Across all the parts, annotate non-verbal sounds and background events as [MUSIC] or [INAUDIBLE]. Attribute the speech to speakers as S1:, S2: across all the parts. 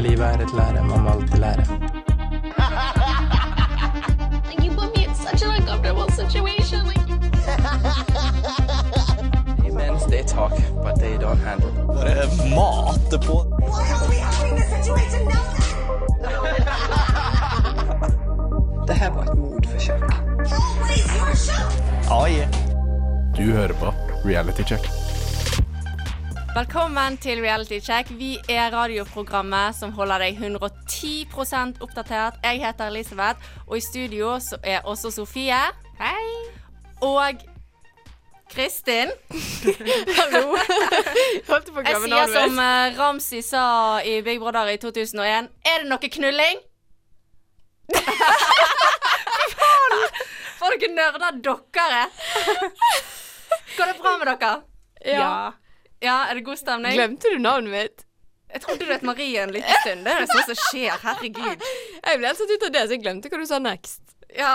S1: Livet er et lære, man må alltid lære.
S2: Like you put me in such an uncomfortable situation. Like
S1: Imens they talk, but they don't handle.
S3: Bare Eh, mate på.
S4: Why are we having this situation now?
S5: Det her var et mordforsøk.
S4: Always your show.
S3: Ah, yeah.
S6: Du hører på Reality Check.
S7: Velkommen til Reality Check. Vi er radioprogrammet som holder deg 110 oppdatert. Jeg heter Elisabeth, og i studio så er også Sofie. Hei. Og Kristin. Hallo. Jeg sier som eh, Ramsi sa i Big Brother i 2001. Er det noe knulling? Fy faen! For dere nerder dere. Går det bra med dere?
S8: Ja.
S7: Ja, er det god stemning?
S8: Glemte du navnet mitt?
S7: Jeg trodde du het Marie en liten stund. Det er det sånn som skjer. Herregud.
S8: Jeg ble helt satt ut av det, så jeg glemte hva du sa next.
S7: Ja,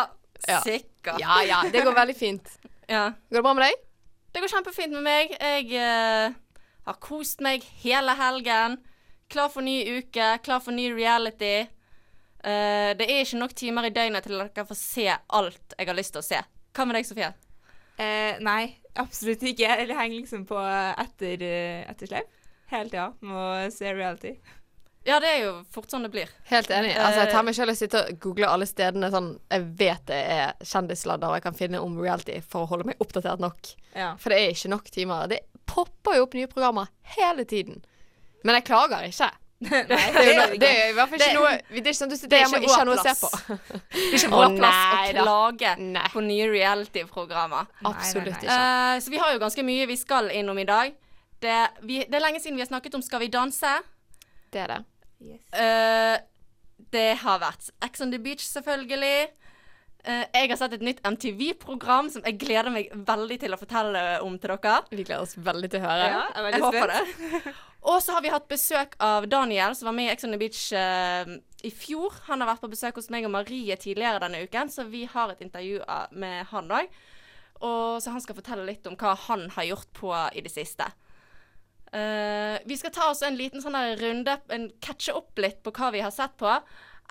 S8: Ja.
S7: sikkert.
S8: Ja, ja, det går veldig fint.
S7: Ja.
S8: Går det bra med deg?
S7: Det går kjempefint med meg. Jeg eh, har kost meg hele helgen. Klar for ny uke, klar for ny reality. Eh, det er ikke nok timer i døgnet til at dere får se alt jeg har lyst til å se. Hva med deg, Sofie?
S9: Eh, nei, absolutt ikke. Jeg henger liksom på etter, etterslepp hele tida med å se reality.
S7: Ja, det er jo fort sånn det blir.
S8: Helt enig. Altså, jeg tar meg selv og sitter og googler alle stedene sånn Jeg vet det er kjendisladder jeg kan finne om reality for å holde meg oppdatert nok.
S9: Ja.
S8: For det er ikke nok timer. Det popper jo opp nye programmer hele tiden. Men jeg klager [LAUGHS] ikke.
S9: Nei,
S8: Det er, jo
S9: det
S8: no-
S9: gjør
S8: det
S9: jeg
S8: er jo i hvert fall ikke noe Det er ikke sånn at du sitter
S7: er
S8: hjemme og
S7: ikke
S8: ikke har
S7: vår
S8: noe å se på.
S7: plass. Det er ikke
S8: Å,
S7: vår plass
S8: nei
S7: å
S8: da.
S7: klage
S8: Nei.
S7: på nye reality-programmer.
S8: Absolutt
S9: nei.
S8: ikke.
S7: Eh, så vi har jo ganske mye vi skal innom i dag. Det, vi, det er lenge siden vi har snakket om Skal vi danse.
S8: Det er det.
S9: ikke. Yes.
S7: Eh, det har vært Ex on the Beach, selvfølgelig. Eh, jeg har sett et nytt MTV-program som jeg gleder meg veldig til å fortelle om til dere.
S8: Vi gleder oss veldig til å høre.
S9: Ja, jeg er
S7: Jeg
S9: veldig
S7: håper
S9: spent.
S7: det. [LAUGHS] Og så har vi hatt besøk av Daniel, som var med i Ex on the Beach eh, i fjor. Han har vært på besøk hos meg og Marie tidligere denne uken, så vi har et intervju av- med han òg. Og så han skal fortelle litt om hva han har gjort på i det siste. Eh, vi skal ta oss en liten sånn der runde, en catche opp litt på hva vi har sett på,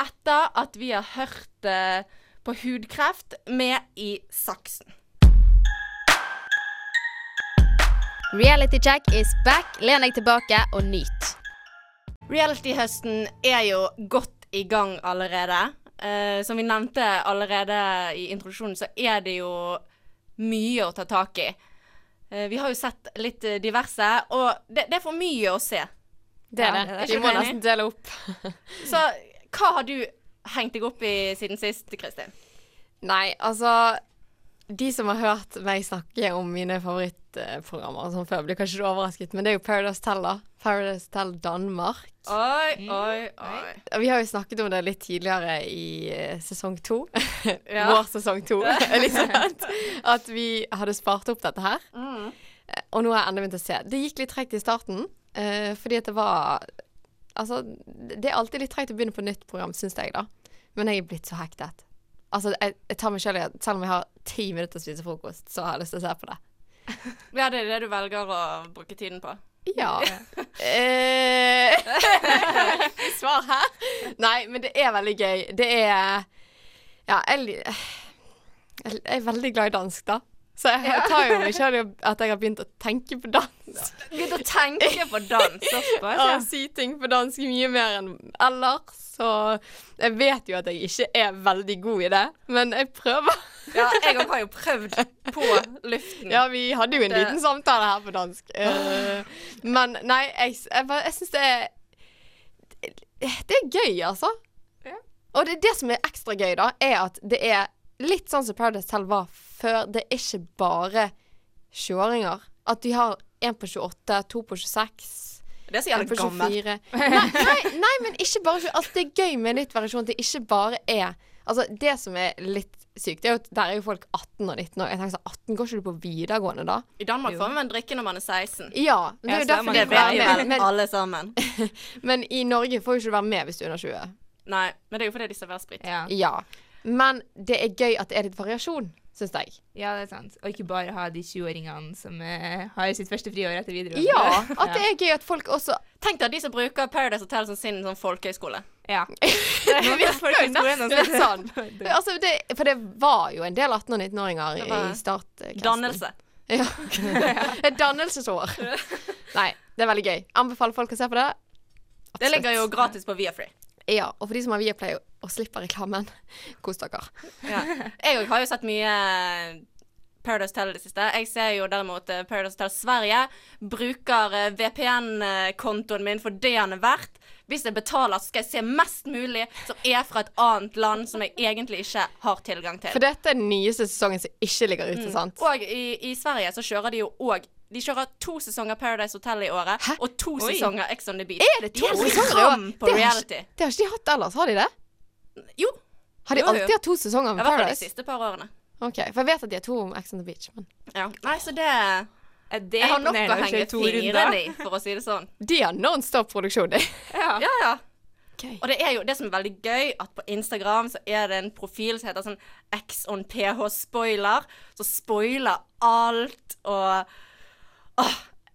S7: etter at vi har hørt eh, på hudkreft med i saksen.
S10: Reality check is back. Len deg tilbake og nyt.
S7: Reality-høsten er jo godt i gang allerede. Eh, som vi nevnte allerede i introduksjonen, så er det jo mye å ta tak i. Eh, vi har jo sett litt eh, diverse, og det, det er for mye å se.
S8: Det er
S9: Ja,
S8: det.
S9: det er
S8: Vi
S7: ikke
S8: må
S7: enig.
S8: nesten dele opp.
S7: Så hva har du hengt deg opp i siden sist, Kristin?
S8: Nei, altså De som har hørt meg snakke om mine favorittprogrammer og sånn før, blir kanskje overrasket, men det er jo Paradise Tell, da. Paradise Tell Danmark.
S7: Oi, oi, Mm. oi.
S8: Og Vi har jo snakket om det litt tidligere i eh, sesong to.
S7: Ja.
S8: Vår sesong to, Elisabeth. At vi hadde spart opp dette her. Eh, Og nå har jeg enda begynt å se. Det gikk litt tregt i starten, eh, fordi at det var Altså, det er alltid litt tregt å begynne på nytt program, syns jeg, da. Men jeg er blitt så hektet. Altså, jeg, jeg tar meg selv i at selv om jeg har ti minutter til å spise frokost, så har jeg lyst til å se på det.
S7: Ja, det er det du velger å bruke tiden på.
S8: Ja. [LAUGHS] Eh, Ikke svar her. Nei, men det er veldig gøy. Det er Ja, jeg, li- jeg er veldig glad i dansk, da. Så jeg jeg tar jo meg sjøl i at jeg har begynt å tenke på dans.
S7: Begynn å tenke på [LAUGHS] dans.
S9: Såpass,
S8: Og
S9: ja.
S8: si ting på dansk mye mer enn ellers. Så jeg vet jo at jeg ikke er veldig god i det, men jeg prøver.
S7: Ja, jeg òg har jo prøvd på luften.
S8: Ja, vi hadde jo en
S7: Det-
S8: liten samtale her på dansk. Eh, men nei, jeg, s- jeg, bare- jeg syns det er Det er gøy, altså. Og det, det som er ekstra gøy, da, er at det er litt sånn som Paradise Tell var før. Det er ikke bare 20-åringer. At de har en på 28, to på 26
S7: Det er så
S8: en på
S7: jævlig gammelt.
S8: 24.
S7: [LAUGHS]
S8: Nei, nei, nei, men ikke bare 24. Altså, det er gøy med litt variasjon. at Det ikke bare er Altså, det som er litt sykt, det er jo at der er jo folk 18 og 19 år. Jeg tenker sånn, 18 går ikke du på videregående da?
S7: I Danmark får man drikke når man er 16.
S8: Ja. men Det
S9: Ja,
S8: er
S9: så
S8: jo
S9: er
S8: derfor du
S9: man
S7: Det
S9: jo
S7: vet
S8: får
S7: jo
S8: være
S7: vel
S8: med. Men,
S7: alle sammen.
S8: men i Norge får jo ikke du være med hvis du er under 20.
S7: Nei, men det er jo fordi de serverer sprit.
S9: ja.
S8: Ja. Men det er gøy at det er litt variasjon. syns jeg.
S9: Ja, det er sant. Og ikke bare ha de 20-åringene som eh, har sitt første friår etter videregående.
S8: Ja, [LAUGHS]
S9: [LAUGHS]
S8: at det er gøy at folk også
S7: Tenk deg de som bruker Paradise Hotel som sin sånn folkehøyskole.
S9: Ja. Nå vet folk i skolen
S8: Det er
S9: [LAUGHS]
S8: sånn. Altså, det, for det var jo en del 18- og 19-åringer i,
S7: Det var
S8: i startklassen.
S7: Dannelse.
S8: Ja. [LAUGHS] Et
S7: [LAUGHS]
S8: dannelsesår. Nei, det er veldig gøy. Anbefaler folk å se på det.
S7: Det ligger jo
S8: Absolutt.
S7: gratis på Viafree.
S8: Ja, og for de som har Viaplay og- og slipper reklamen, [LAUGHS] kos dere.
S7: Ja. [LAUGHS] Jeg òg har jo sett mye eh, Paradise Hotel i det siste. Jeg ser jo derimot eh, Paradise Hotel Sverige. Bruker eh, VPN-kontoen min for det han er verdt. Hvis jeg betaler, så skal jeg se mest mulig som er fra et annet land som jeg egentlig ikke har tilgang til.
S8: For dette er den nyeste sesongen som ikke ligger
S7: Mm.
S8: ute, sant?
S7: Og i, i Sverige så kjører de jo òg De kjører to sesonger Paradise Hotel i året og to sesonger Ex on the Beach.
S8: Er det to
S7: de helt
S8: sesonger i år?
S7: ram på
S8: Det har
S7: reality.
S8: ikke, det har ikke de hatt ellers, har de det?
S7: Jo.
S8: Har de
S7: Jo, jo.
S8: alltid hatt to sesonger
S7: I
S8: med
S7: hvert fall de
S8: Paradise?
S7: siste par årene.
S8: Ok, For jeg vet at de har to om Ex on the Beach. Men
S7: Ja. Nei, så det
S9: Ja, det
S7: Jeg har nok å henge
S9: fingrene
S7: fingrene i, for å si det sånn.
S8: de har nonstop produksjon, de.
S7: Ja, ja.
S8: Okay.
S7: Og det er jo det som er veldig gøy, at på Instagram så er det en profil som heter sånn X on PH spoiler, som spoiler alt og Åh,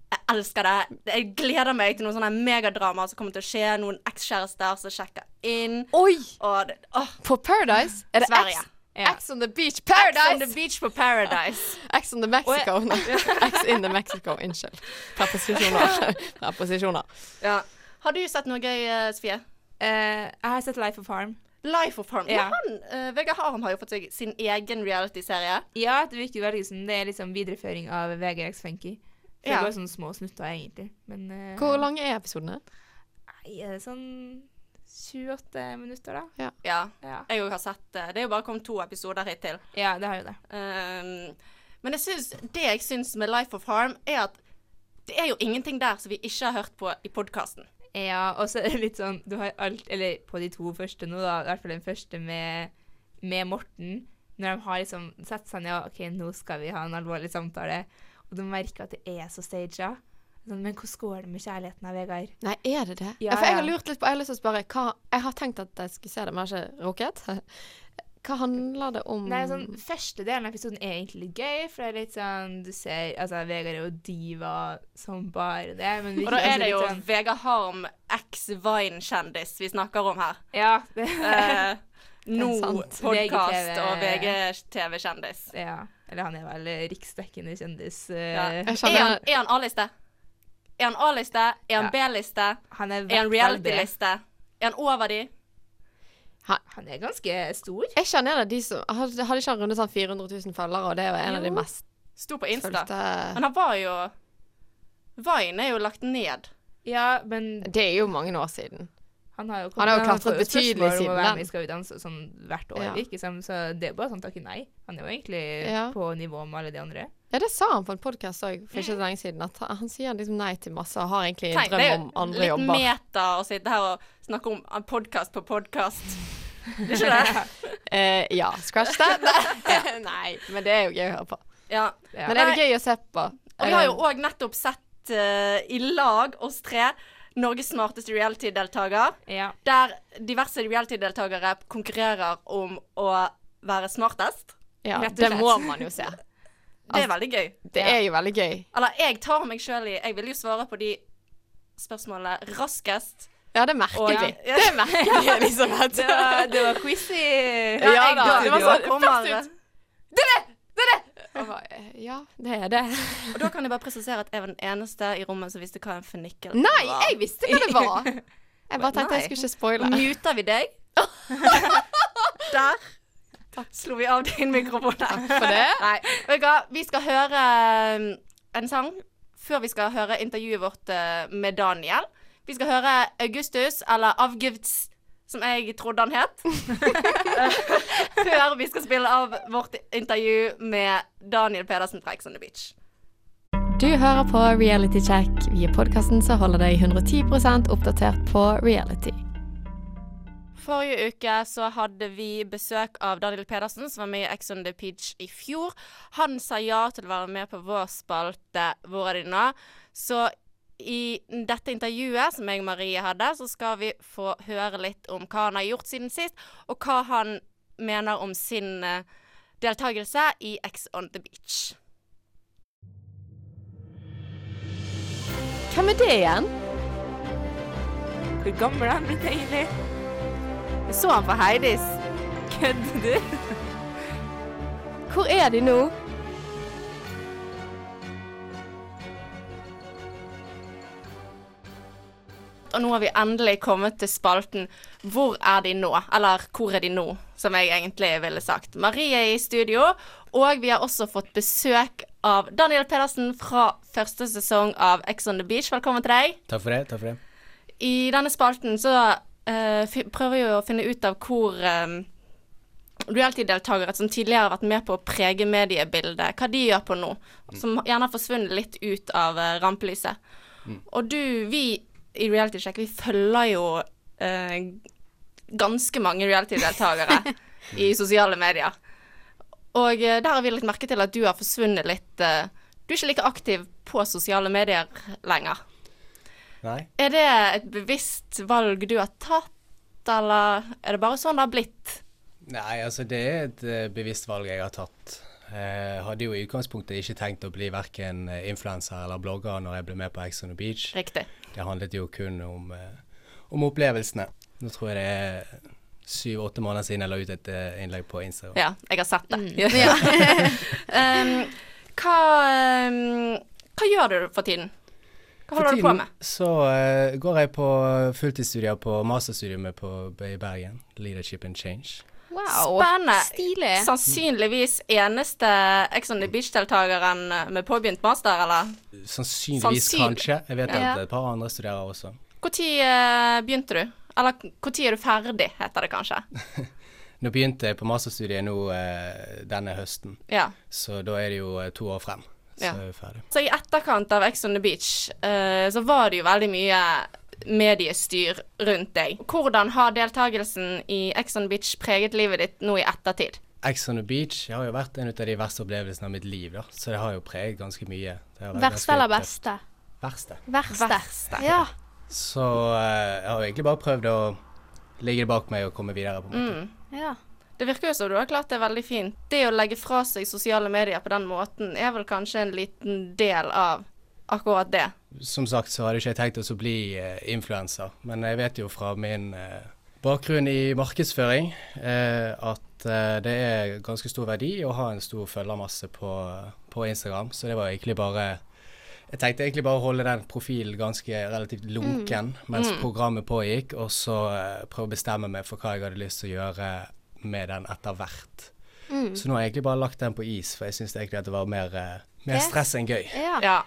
S7: jeg elsker det. Jeg gleder meg til noen sånne megadramaer som kommer til å skje, noen ekskjærester som sjekker inn,
S8: Oi!
S7: og det, åh,
S8: På Paradise er det
S7: Sverige.
S8: Ex,
S9: Ja.
S8: Ex on the
S7: X
S8: Beach
S7: on the
S8: Paradise!
S7: beach på
S8: [LAUGHS]
S7: Paradise.
S8: Ex on the Mexico. Nei, Ex in the Mexico. Unnskyld. Preposisjoner. Preposisjoner.
S7: Ja. Har du sett noe gøy, eh, Sofie?
S9: Eh, jeg har sett Life of Harm.
S7: Life of Harm.
S9: Ja.
S7: Men han, eh, Vegard Harm har jo fått seg sin egen reality-serie.
S9: Ja, det virker jo veldig som det er liksom videreføring av VGX Funky. Så
S7: Ja.
S9: Det går sånne små snutter, egentlig. Men eh,
S8: Hvor lange er episodene?
S9: nei, er det sånn 28 minutter, da?
S7: Ja.
S9: Ja,
S7: Jeg òg har sett eh, det. Det er jo bare kommet to episoder hittil.
S9: ja det har jo det.
S7: Um, men jeg synes, det jeg syns med Life of Harm, er at det er jo ingenting der som vi ikke har hørt på i podkasten.
S9: Ja, og så er det litt sånn Du har alt Eller på de to første nå, da. I hvert fall den første med, med Morten. Når de har liksom satt seg ned og OK, nå skal vi ha en alvorlig samtale. Og du merker at det er så staged. Sånn, men hvordan går det med kjærligheten av Vegard?
S8: Nei, er det det? Ja,
S9: Ja,
S8: for jeg
S9: ja.
S8: har lurt litt på Jeg har lyst til å spørre hva Jeg har tenkt at jeg skulle se det, men jeg har ikke rukket. Hva handler det om?
S9: Nei,
S7: Mm.
S9: sånn, Første delen av episoden er egentlig litt gøy, for det er litt sånn Du ser Altså, Vegard er jo diva som bare det, men
S7: Og da
S9: virker også
S7: er det
S9: litt
S7: jo
S9: sånn,
S7: Vegard Harm, eks-Vine-kjendis, vi snakker om her.
S9: Ja. Det,
S7: Eh, nå
S8: sant.
S7: podkast
S9: VGTV.
S7: og VGTV-kjendis.
S9: ja. Eller han er vel riksdekkende kjendis.
S7: Ja.
S8: Jeg
S9: eh,
S7: Er han-
S8: skjønner.
S7: er han A-liste? Er han A-liste? Er han B-liste?
S9: Han er,
S7: Er han
S9: hvertfall det.
S7: reality-liste? Er han over de?
S9: Han er ganske stor.
S8: Jeg kjenner det, de som Hadde hadde ikke han rundet sånn 400 000 følgere, og det er jo en av de
S7: Jo.
S8: mest
S7: Sto på Insta.
S8: følgte
S7: Men han var jo Vine er jo lagt ned.
S9: Ja, men
S8: Det er jo mange år siden.
S9: han har jo kommet
S8: Han har jo
S9: men
S8: klatret
S9: får
S8: betydelig
S9: spørsmål om å
S8: siden
S9: være
S8: den.
S9: med i Skal vi danse sånn hvert år,
S8: Ja.
S9: virker det som. Så det er bare sånn takke nei. Han er jo egentlig
S8: Ja.
S9: på nivå med alle de andre.
S8: Ja, det sa han på en podkast òg for ikke så lenge siden, at han, han sier liksom nei til masse og har egentlig en
S7: Tenk, det er
S8: drøm
S7: jo
S8: om andre jobber.
S7: Litt meta å sitte her og snakke om podkast på
S8: [LAUGHS]
S7: podkast. Det er ikke det?
S8: Eh, ja, scratch that. Nei. [LAUGHS] Nei, men det er jo gøy å høre på.
S7: Ja.
S9: Ja.
S8: Men er det gøy å se på?
S7: Og vi har jo òg nettopp sett eh, i lag, oss tre, Norges smarteste reality-deltaker.
S9: Ja.
S7: Der diverse reality-deltakere konkurrerer om å være smartest.
S8: Eh, ja,
S9: rett og
S8: Det
S9: slett.
S8: må man jo se. Altså-
S7: Det er veldig gøy.
S8: Det er jo veldig gøy.
S7: Eller jeg tar meg sjøl i Jeg vil jo svare på de spørsmålene raskest.
S8: Ja, det merker
S7: Og-
S8: vi.
S7: [LAUGHS] Ja.
S8: Det merker vi, Elisabeth.
S9: Det var, det var quiz i
S8: Ja,
S7: jeg,
S8: da, det var
S7: da
S8: sånn,
S7: kommer-
S8: først Jeg bare, eh, Ja, det er det.
S7: Og da kan jeg bare presisere at jeg var den eneste i rommet som visste hva en fennikel
S8: Nei,
S7: var.
S8: jeg visste hva det var. Jeg bare tenkte
S7: Nei.
S8: jeg skulle ikke spoile.
S7: Muter vi
S8: [LAUGHS]
S7: deg? Der slo vi av din mikrofon. Takk
S8: For det
S7: Nei, vet du hva? Vi skal høre um, en sang før vi skal høre intervjuet vårt uh, med Daniel. Vi skal høre Augustus, eller Avgifts, som jeg trodde han het.
S8: [LAUGHS]
S7: [LAUGHS] før vi skal spille av vårt intervju med Daniel Pedersen fra Ex on the Beach.
S8: Du hører på Reality Check. Vi er podkasten som holder deg 110 oppdatert på reality.
S7: Forrige uke så hadde vi besøk av Daniel Pedersen, som var med i Ex on the Beach i fjor. Han sa ja til å være med på vår spalte Hvor er dine? Så i dette intervjuet som jeg og Marie hadde, så skal vi få høre litt om hva han har gjort siden sist, og hva han mener om sin eh, deltakelse i X on the beach.
S8: Hvem er det igjen?
S9: Hvor gammel er han blitt egentlig?
S7: Jeg så han på Heidis.
S9: Kødder du?
S8: Hvor er de nå?
S7: Og nå har vi endelig kommet til spalten 'Hvor er de nå?' eller 'Hvor er de nå?', som jeg egentlig ville sagt. Marie er i studio, og vi har også fått besøk av Daniel Pedersen fra første sesong av Ex on the Beach. Velkommen til deg.
S11: Takk for det. takk for det.
S7: I denne spalten så eh, fi- prøver vi å finne ut av hvor um, reality-deltakere som tidligere har vært med på å prege mediebildet, hva de gjør på nå. Som gjerne har forsvunnet litt ut av eh, rampelyset. Og du, vi i Reality Check, vi følger jo eh, ganske mange reality-deltakere [LAUGHS] i sosiale medier. Og eh, der har vi litt merke til at du har forsvunnet litt. eh, du er ikke like aktiv på sosiale medier lenger.
S11: Nei.
S7: Er det et bevisst valg du har tatt, eller er det bare sånn det har blitt?
S11: Nei, altså det er et eh, bevisst valg jeg har tatt. Jeg hadde jo i utgangspunktet ikke tenkt å bli verken influenser eller blogger når jeg ble med på Ex on the Beach.
S7: Riktig.
S11: Det handlet jo kun om, eh, om opplevelsene. Nå tror jeg det er syv-åtte måneder siden jeg la ut et eh, innlegg på Instagram.
S7: Mm. Ja, jeg har sett det. [LAUGHS] um, hva, um, hva gjør du for tiden? Hva holder du på med?
S11: så eh, går jeg på fulltidsstudier på masterstudiet mitt på- i Bergen. Leadership and change.
S8: Wow.
S7: Spennende.
S8: Stilig.
S7: Sannsynligvis eneste Ex on the Beach-deltakeren med påbegynt master, eller?
S11: Sannsynligvis
S7: Sannsyn-
S11: kanskje. Jeg vet
S8: Ja.
S11: at et par andre studerer også.
S7: Når uh, begynte du? Eller når er du ferdig, heter det kanskje.
S11: Nå begynte jeg på masterstudiet nå eh, denne høsten,
S7: Ja.
S11: så da er det jo eh, to år frem. Så
S7: Ja.
S11: er vi ferdig.
S7: Så i etterkant av Ex on the Beach, eh, så var det jo veldig mye mediestyr rundt deg. Hvordan har deltakelsen i Ex on the Beach preget livet ditt nå i ettertid?
S11: Ex on the beach har jo vært en ut av de verste opplevelsene av mitt liv, da. Så det har jo preget ganske mye. Det har vært ganske
S10: Verste eller
S11: tøft.
S10: beste?
S11: Verste.
S10: Verste.
S7: Verste.
S10: Ja.
S11: Så eh, jeg har jo egentlig bare prøvd å ligge det bak meg og komme videre, på en måte.
S10: ja.
S7: Det virker jo som du har klart det veldig fint. Det å legge fra seg sosiale medier på den måten er vel kanskje en liten del av akkurat det.
S11: Som sagt så hadde ikke jeg tenkt å bli eh, influenser, men jeg vet jo fra min eh, bakgrunn i markedsføring eh, at eh, det er ganske stor verdi å ha en stor følgermasse på, på Instagram, så det var egentlig bare jeg tenkte egentlig bare å holde den profilen ganske relativt lunken mens programmet pågikk, og så eh, prøve å bestemme meg for hva jeg hadde lyst til å gjøre med den etter hvert. Så nå har jeg egentlig bare lagt den på is, for jeg syns egentlig at det var mer, eh, mer
S10: Yes.
S11: stress enn gøy.
S10: ja.
S7: Ja.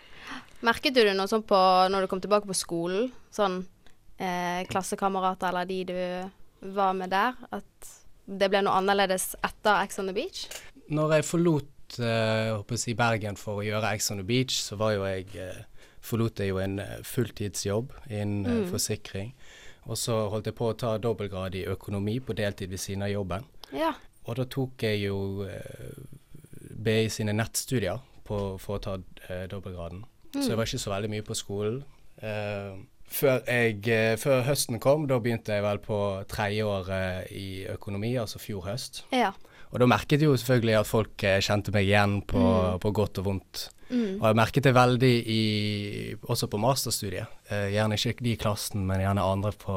S10: Merket du det noe sånn på når du kom tilbake på skolen? Sånn eh, klassekamerater eller de du var med der? At det ble noe annerledes etter Ex on the Beach?
S11: Når jeg forlot eh, håper jeg å si Bergen for å gjøre Ex on the Beach, så var jo jeg eh, Forlot jeg jo en eh, fulltidsjobb innen eh, forsikring. Og så holdt jeg på å ta dobbeltgrad i økonomi på deltid ved siden av jobben.
S10: Ja.
S11: Og da tok jeg jo eh, BI sine nettstudier på, for å ta eh, dobbeltgraden. Så jeg var ikke så veldig mye på skolen. Eh, før, jeg, eh, før høsten kom, da begynte jeg vel på tredje året i økonomi, altså fjor høst.
S10: Ja.
S11: Og da merket jeg jo selvfølgelig at folk eh, kjente meg igjen på,
S10: Mm.
S11: på godt og vondt. Og jeg merket det veldig i, også på masterstudiet. Eh, gjerne ikke de i klassen, men gjerne andre på,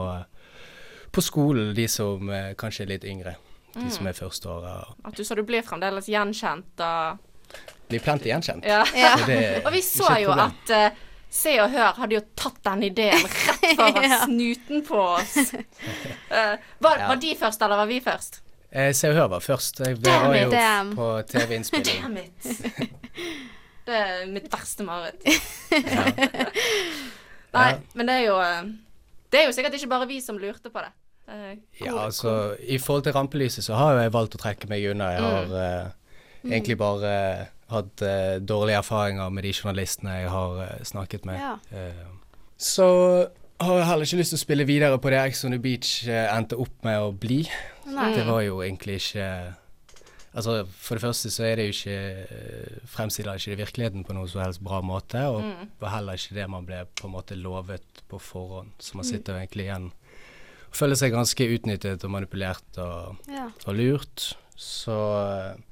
S11: på skolen, de som eh, kanskje er litt yngre. De
S10: Mm.
S11: som er førsteåret.
S7: At du så du blir fremdeles gjenkjent og
S11: Blir plenty gjenkjent.
S7: Ja.
S10: Ja.
S11: Så det er
S7: [LAUGHS] Og vi så
S11: ikke et
S7: jo
S11: problem.
S7: at eh, Se og Hør hadde jo tatt den ideen rett
S10: [LAUGHS]
S7: foran snuten på
S11: [LAUGHS]
S7: oss. Eh, var, var de først, eller var vi først?
S11: Eh, Se og Hør var først. Jeg det
S10: Damn
S11: var
S10: it,
S11: jo
S10: damn.
S11: på TV-innspilling.
S7: Damn it. [LAUGHS] Det er mitt verste
S10: [LAUGHS]
S7: mareritt. [LAUGHS] Nei,
S11: Ja.
S7: men det er jo eh, Det er jo sikkert ikke bare vi som lurte på det. Eh,
S11: Ja, altså, I forhold til rampelyset så har jo jeg valgt å trekke meg unna. Jeg har eh, egentlig bare eh, hatt eh, dårlige erfaringer med de journalistene jeg har eh, snakket med.
S10: Ja.
S11: Eh, så har jeg heller ikke lyst til å spille videre på det Ex on the Beach eh, endte opp med å bli. Det var jo egentlig ikke Altså, For det første så er det jo ikke eh, Fremstiller ikke det virkeligheten på noen som helst bra måte, og heller ikke det man ble på en måte lovet på forhånd. Så man sitter jo egentlig igjen og føler seg ganske utnyttet og manipulert og,
S10: Ja.
S11: og lurt. Så eh,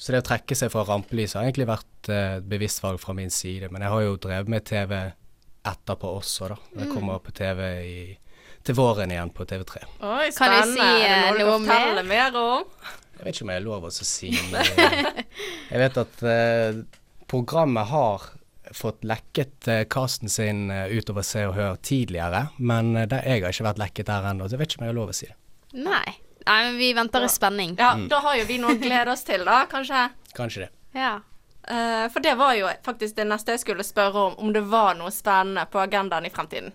S11: Så det å trekke seg fra rampelyset har egentlig vært eh, et bevisst valg fra min side. Men jeg har jo drevet med TV etterpå også, da. Jeg
S10: Mm.
S11: kommer på TV i, til våren igjen på TV3.
S7: Oi,
S10: Kan jeg
S7: spennende.
S10: si,
S7: er det noe
S10: eh,
S7: du
S10: noe
S7: kan fortelle mer om?
S11: Jeg vet ikke om jeg har lov å si men, eh, Jeg vet at eh, programmet har fått lekket eh, casten sin eh, utover Se og Hør tidligere, men eh, der, jeg har ikke vært lekket der ennå, så jeg vet ikke om jeg har lov å si det.
S10: Nei. Nei, men vi venter i spenning.
S7: Ja,
S11: Mm.
S7: Da har jo vi noe å glede oss til, da, kanskje.
S11: Kanskje det.
S10: Ja.
S7: Eh, for det var jo faktisk det neste jeg skulle spørre om, om det var noe spennende på agendaen i fremtiden.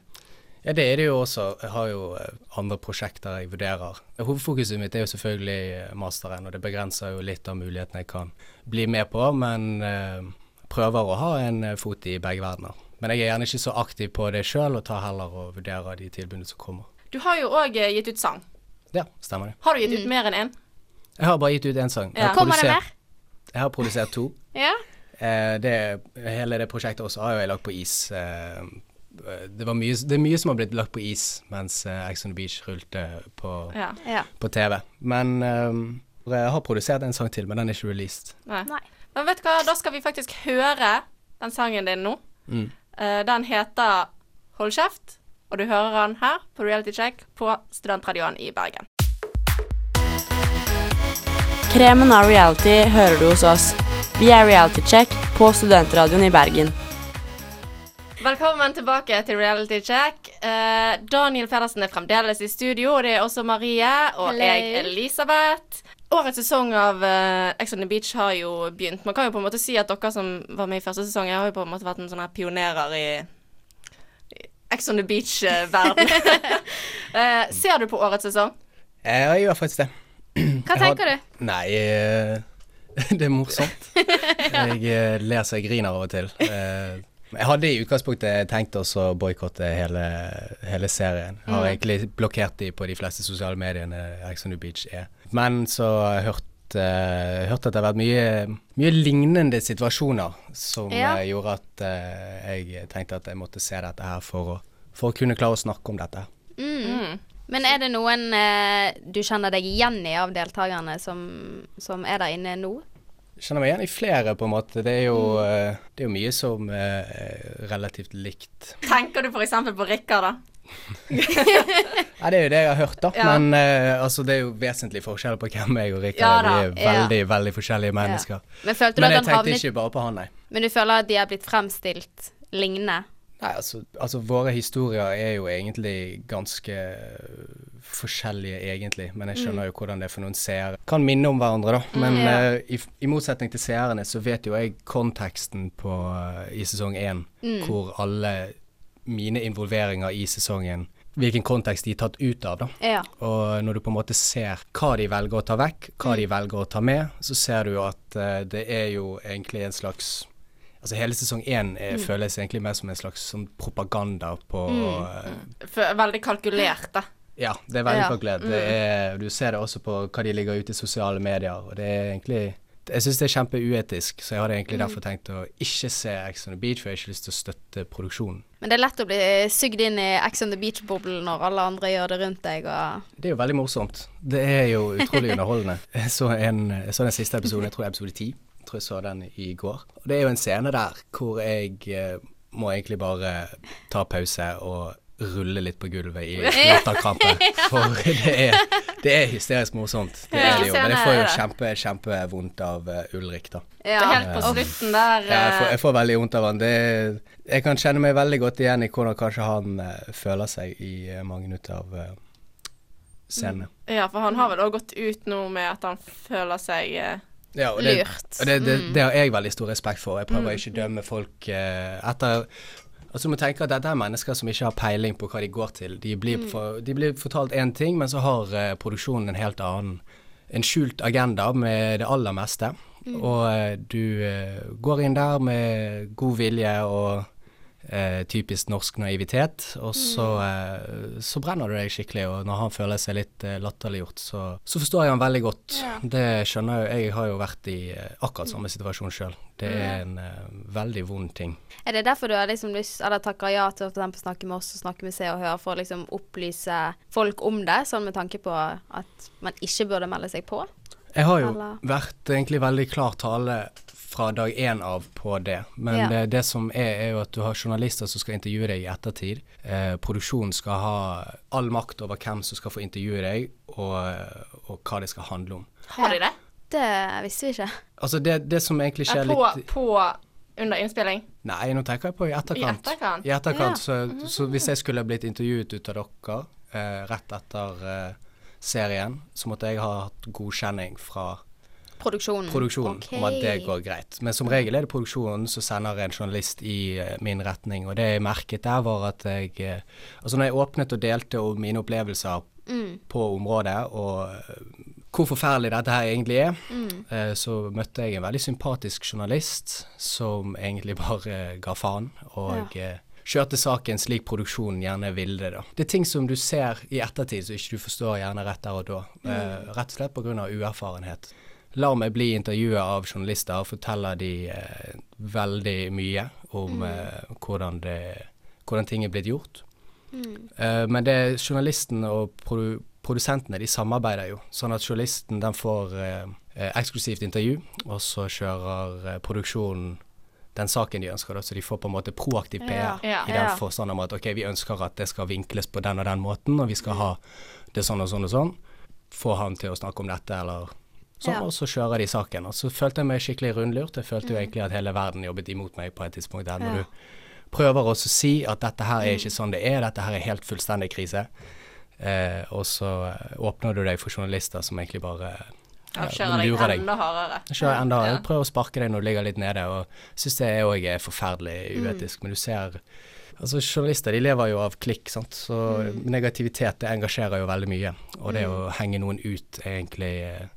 S11: Ja, det er det jo også. Jeg har jo eh, andre prosjekter jeg vurderer. Hovedfokuset mitt er jo selvfølgelig eh, masteren, og det begrenser jo litt av mulighetene jeg kan bli med på, men eh, prøver å ha en eh, fot i begge verdener. Men jeg er gjerne ikke så aktiv på det sjøl, og tar heller og vurderer de tilbudene som kommer.
S7: Du har jo òg gitt ut sang.
S11: Ja, stemmer det.
S7: Har du gitt ut mer enn én?
S11: Jeg har bare gitt ut én sang. Jeg har
S7: Ja. Kommer
S10: det
S11: produsert- Jeg har produsert to.
S10: Ja.
S11: Eh, det, hele det prosjektet også har jo jeg lagt på is. Eh, det, var mye, det er mye som har blitt lagt på is mens eh, Ex on the Beach rulte på,
S7: Ja.
S10: ja.
S11: på TV. Men eh, jeg har produsert en sang til, men den er ikke released.
S7: Nei.
S10: Nei.
S7: Men vet du hva, da skal vi faktisk høre den sangen din nå.
S11: Mm.
S7: Eh, den heter Hold kjeft, og du hører den her på Reality Check på Studentradioen i Bergen.
S12: Kremen av reality hører du hos oss. Vi er Reality Check på Studentradioen i Bergen.
S7: Velkommen tilbake til Reality Check. Eh, Daniel Pedersen er fremdeles i studio, og det er også Marie og
S10: Hello.
S7: jeg, Elisabeth. Årets sesong av eh, Ex on the Beach har jo begynt. Man kan jo på en måte si at dere som var med i første sesong, har jo på en måte vært en sånn her pionerer i i Ex on the [LAUGHS] Beach-verden. Eh, ser du på årets sesong?
S11: Eh, Jeg gjør faktisk det.
S10: Hva tenker du?
S11: Nei, eh, [LAUGHS] det er morsomt. Jeg eh, ler så jeg griner av og til. Eh, jeg hadde i utgangspunktet tenkt også å boikotte hele, hele serien. Jeg har
S7: Mm.
S11: egentlig blokkert de på de fleste sosiale mediene Ex on the Beach er. Men så har jeg hørt, eh, hørt at det har vært mye, mye lignende situasjoner som
S10: Ja.
S11: eh, gjorde at eh, jeg tenkte at jeg måtte se dette her for å, for å kunne klare å snakke om dette.
S10: Mm. Men er det noen eh, du kjenner deg igjen i av deltakerne som, som er der inne nå?
S11: kjenner meg igjen i flere, på en måte. Det er jo,
S10: Mm.
S11: eh, det er jo mye som eh, er relativt likt.
S7: Tenker du f.eks. på Rikard, da?
S11: Nei, det er jo det jeg har hørt, da.
S7: Ja.
S11: Men eh, altså, det er jo vesentlig forskjell på hvem jeg og
S7: Ja
S11: Rikard
S7: da,
S11: er. Vi er
S10: ja.
S11: veldig, veldig forskjellige mennesker.
S10: Men følte du
S11: Men
S10: at
S11: jeg
S10: han
S11: tenkte
S10: havnet
S11: ikke bare på han, nei.
S10: Men du føler at de har blitt fremstilt lignende?
S11: Nei, altså, altså våre historier er jo egentlig ganske øh, forskjellige, egentlig. Men jeg skjønner jo hvordan det er for noen seere. Kan minne om hverandre, da. Men
S10: ja.
S11: eh, i, i motsetning til seerne, så vet jo jeg konteksten på, eh, i sesong én. Hvor alle mine involveringer i sesongen Hvilken kontekst de er tatt ut av, da.
S10: Ja.
S11: Og når du på en måte ser hva de velger å ta vekk, hva de velger å ta med, så ser du jo at eh, det er jo egentlig en slags Altså hele sesong én eh, føles egentlig mer som en slags sånn propaganda på eh,
S7: F- Veldig kalkulert, da.
S11: Ja, det er veldig
S10: Ja.
S11: kalkulert. Det er- Du ser det også på hva de ligger ute i sosiale medier, og det er egentlig jeg syns det er kjempeuetisk, så jeg hadde egentlig derfor tenkt å ikke se Ex on the Beach, for jeg har ikke lyst til å støtte produksjonen.
S10: Men det er lett å bli sugd inn i Ex on the Beach-boblen når alle andre gjør det rundt deg og
S11: Det er jo veldig morsomt. Det er jo utrolig underholdende. Jeg så, en, jeg så den siste episoden, jeg tror det er episode 10. Jeg tror jeg så den i går. Og det er jo en scene der hvor jeg eh, må egentlig bare ta pause og rulle litt på gulvet [LAUGHS] i latterkrampe. [LAUGHS] For det er, det er hysterisk morsomt. Det er det jo. Men jeg får jo kjempe, kjempevondt av eh, Ulrik, da.
S7: Det er Helt på slutten
S11: Ja,
S7: der.
S11: jeg, får,
S7: eh,
S11: jeg får veldig vondt av han. Det, er- jeg kan kjenne meg veldig godt igjen i hvordan kanskje han eh, føler seg i eh, mange ut av eh, scenene.
S7: Ja, for han har vel òg gått ut nå med at han føler seg eh,
S11: Ja, og det,
S10: Lurt.
S11: Og det, det, det har jeg veldig stor respekt for. Jeg prøver ikke å dømme folk eh, etter Altså, du må tenke at dette er mennesker som ikke har peiling på hva de går til. De blir, for, de blir fortalt én ting, men så har eh, produksjonen en helt annen. En skjult agenda med det aller meste. Og eh, du eh, går inn der med god vilje og eh, typisk norsk naivitet, og så,
S10: Mm.
S11: eh, så brenner du deg skikkelig. Og når han føler seg litt eh, latterliggjort, så, så forstår jeg han veldig godt. Det skjønner jeg. Jeg har jo vært i eh, akkurat samme situasjon sjøl. Det er en eh, veldig vond ting.
S10: Er det derfor du har liksom lyst Eller takker ja til å for eksempel snakke med oss og snakke med Se og Hør for å liksom opplyse folk om det, sånn med tanke på at man ikke burde melde seg på?
S11: Jeg har jo
S10: Eller-
S11: vært egentlig veldig klar tale fra dag én av på det. Men
S10: Ja.
S11: det, det som er, er jo at du har journalister som skal intervjue deg i ettertid. Eh, produksjonen skal ha all makt over hvem som skal få intervjue deg, og, eh, og hva det skal handle om.
S7: Har de det?
S10: Det visste vi ikke.
S11: Altså det, det som egentlig skjer
S7: på,
S11: litt
S7: på under innspilling?
S11: Nei, nå tenker jeg på i etterkant.
S7: I etterkant?
S11: I etterkant,
S7: Ja. Mm.
S11: så, så hvis jeg skulle blitt intervjuet ut av dere eh, rett etter eh, serien, så måtte jeg ha hatt godkjenning fra
S10: Produksjonen.
S11: produksjonen
S10: Mm, Ok.
S11: om at det går greit. Men som regel er det produksjonen som sender en journalist i eh, min retning, og det jeg merket der var at jeg eh, Altså når jeg åpnet og delte om mine opplevelser
S10: Mm.
S11: på området, og eh, hvor forferdelig dette her egentlig er,
S10: Mm.
S11: eh, så møtte jeg en veldig sympatisk journalist som egentlig bare eh, ga faen, og eh, Kjørte saken slik produksjonen gjerne ville det, da. Det er ting som du ser i ettertid som ikke du forstår gjerne rett der og da. eh,
S10: Mm.
S11: Rett og slett pga. uerfarenhet lar meg bli intervjuet av journalister og forteller de eh, veldig mye om
S10: Mm.
S11: eh, hvordan, det, hvordan ting er blitt gjort.
S10: Mm.
S11: Eh, men det er journalisten og produ produsentene, de samarbeider jo, sånn at journalisten den får eh, eh, eksklusivt intervju, og så kjører eh, produksjonen den saken de ønsker, da, så de får på en måte proaktiv PR
S7: Ja, ja,
S11: i den
S7: ja.
S11: forstand om at ok, vi ønsker at det skal vinkles på den og den måten, og vi skal ha det sånn og sånn og sånn. Få han til å snakke om dette, eller sånn,
S10: Ja.
S11: og så kjører de saken. Og så følte jeg meg skikkelig rundlurt. Jeg følte jo
S10: Mm.
S11: egentlig at hele verden jobbet imot meg på et tidspunkt der,
S10: Ja.
S11: når du prøver også å si at dette her
S7: Mm.
S11: er ikke sånn det er, dette her er helt fullstendig krise. Eh, og så åpner du deg for journalister som egentlig bare
S7: Ja,
S11: ja,
S7: kjører deg
S11: lurer deg.
S7: enda hardere.
S11: Kjører enda
S7: Ja.
S11: hardere. Prøver å sparke deg når du ligger litt nede, og syns det òg er eh,
S7: Mm.
S11: forferdelig uetisk. Men du ser Altså, journalister de lever jo av klikk, sant. Så
S7: Mm.
S11: negativitet det engasjerer jo veldig mye. Og det å henge noen ut er egentlig eh,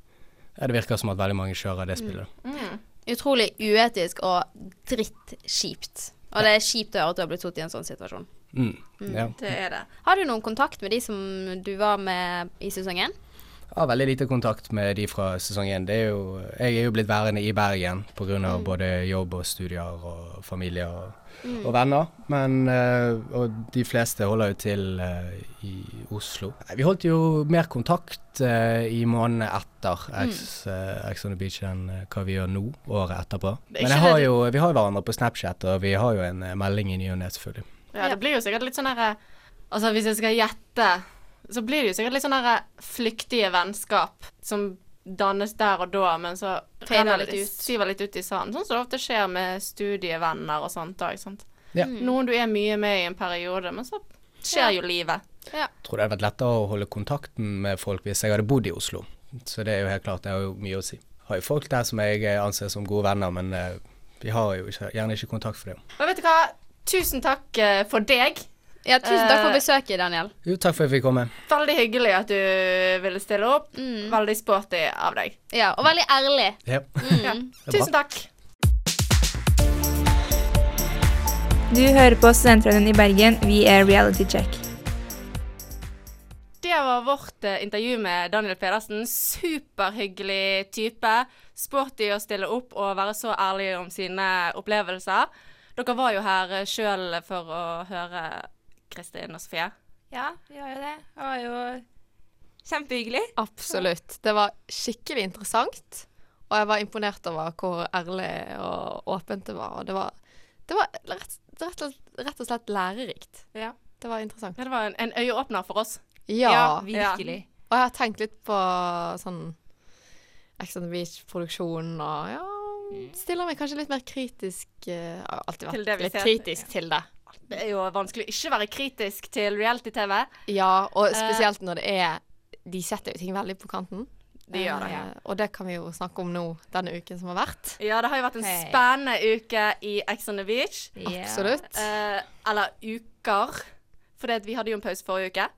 S11: ja, Det virker som at veldig mange kjører
S7: Mm.
S11: det spillet.
S10: Utrolig uetisk og drittkjipt. Og det er kjipt å høre at du har blitt satt i en sånn situasjon.
S11: Mm. Ja.
S7: Det er det.
S10: Har du noen kontakt med de som du var med i sesongen?
S11: Jeg har veldig lite kontakt med de fra sesong én. Det er jo, jeg er jo blitt værende i Bergen pga.
S7: Mm.
S11: av både jobb og studier og familie og,
S10: Mm.
S11: og venner. Men eh, og de fleste holder jo til eh, i Oslo. Nei, Vi holdt jo mer kontakt eh, i månedene etter
S7: Mm.
S11: Ex eh, Ex on the Beach enn eh, hva vi gjør nå, året etterpå.
S7: Det er
S11: Men
S7: ikke
S11: jeg har
S7: det-
S11: jo, vi har jo hverandre på Snapchat, og vi har jo en eh, melding i ny og ne, selvfølgelig.
S7: Ja, det blir jo sikkert litt sånn derre Altså, hvis jeg skal gjette, så blir det jo sikkert litt sånn derre flyktige vennskap som dannes der og da, men så
S10: Fader
S7: renner
S10: litt
S7: de-
S10: ut.
S7: siver litt ut i sanden. Sånn som det ofte skjer med studievenner og sånt òg, sant.
S11: Ja.
S7: Noen du er mye med i en periode, men så skjer jo livet.
S11: tror det hadde vært lettere å holde kontakten med folk hvis jeg hadde bodd i Oslo. Så det er jo helt klart, det har jo mye å si. Har jo folk der som jeg eh, anser som gode venner, men eh, vi har jo ikke, gjerne ikke kontakt for det.
S7: Men vet du hva? Tusen takk eh, for deg.
S10: Ja, tusen takk for
S7: Eh,
S10: besøket, Daniel.
S11: Jo, takk for at jeg fikk komme.
S7: Veldig hyggelig at du ville stille opp. Veldig sporty av deg.
S10: Ja, og veldig ærlig.
S11: Ja. [LAUGHS] Det er bra.
S7: Ja. Tusen takk.
S9: Du hører på Studentradioen i Bergen. Vi er Reality Check.
S7: Det var vårt eh, intervju med Daniel Pedersen. Superhyggelig type. Sporty å stille opp og være så ærlig om sine opplevelser. Dere var jo her sjøl for å høre Kristin og Sofie.
S9: Ja, vi har jo det. Det var jo kjempehyggelig.
S8: Absolutt. Det var skikkelig interessant. Og jeg var imponert over hvor ærlig og åpent det var. Og det var, det var rett, rett, og slett- rett og slett lærerikt.
S7: Ja.
S8: Det var interessant.
S7: Ja, det var en, en øyeåpner for oss.
S8: Ja.
S9: virkelig.
S8: Og jeg har tenkt litt på sånn Ex on the Beach-produksjonen og ja
S10: Mm.
S8: Stiller meg kanskje litt mer kritisk. eh, Jeg har alltid
S7: Til
S8: vært
S7: det vi
S8: litt
S7: ser.
S8: kritisk til det.
S7: Det er jo vanskelig å ikke være kritisk til reality-TV.
S8: Ja, og
S7: Eh,
S8: spesielt når det er De setter jo ting veldig på kanten.
S7: De gjør det,
S8: Eh,
S7: ja.
S8: Og det kan vi jo snakke om nå, denne uken som har vært.
S7: Eh, Ja, det har jo vært en
S9: Hei.
S7: spennende uke i Ex on the Beach.
S8: Absolutt.
S7: Eh, eller uker. For vi hadde jo en pause forrige uke.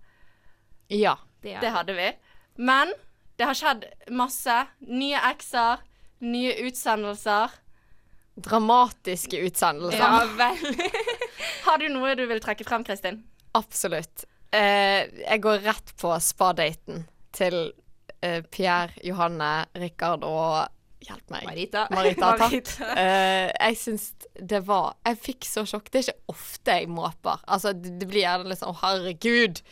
S8: Ja.
S7: Det hadde vi. Men det har skjedd masse. Nye ekser, nye utsendelser.
S8: Dramatiske utsendelser.
S9: Ja vel.
S7: [LAUGHS] Har du noe du vil trekke frem, Kristin?
S8: Absolutt. Eh, jeg går rett på spadaten til eh, Pierre, Johanne, Rikard og Hjelp meg.
S9: Marita. [LAUGHS]
S8: Marita, takk.
S9: Marita.
S8: Eh, jeg syns det var Jeg fikk så sjokk. Det er ikke ofte jeg måper. Altså, det, det blir gjerne litt sånn 'Å, herregud'.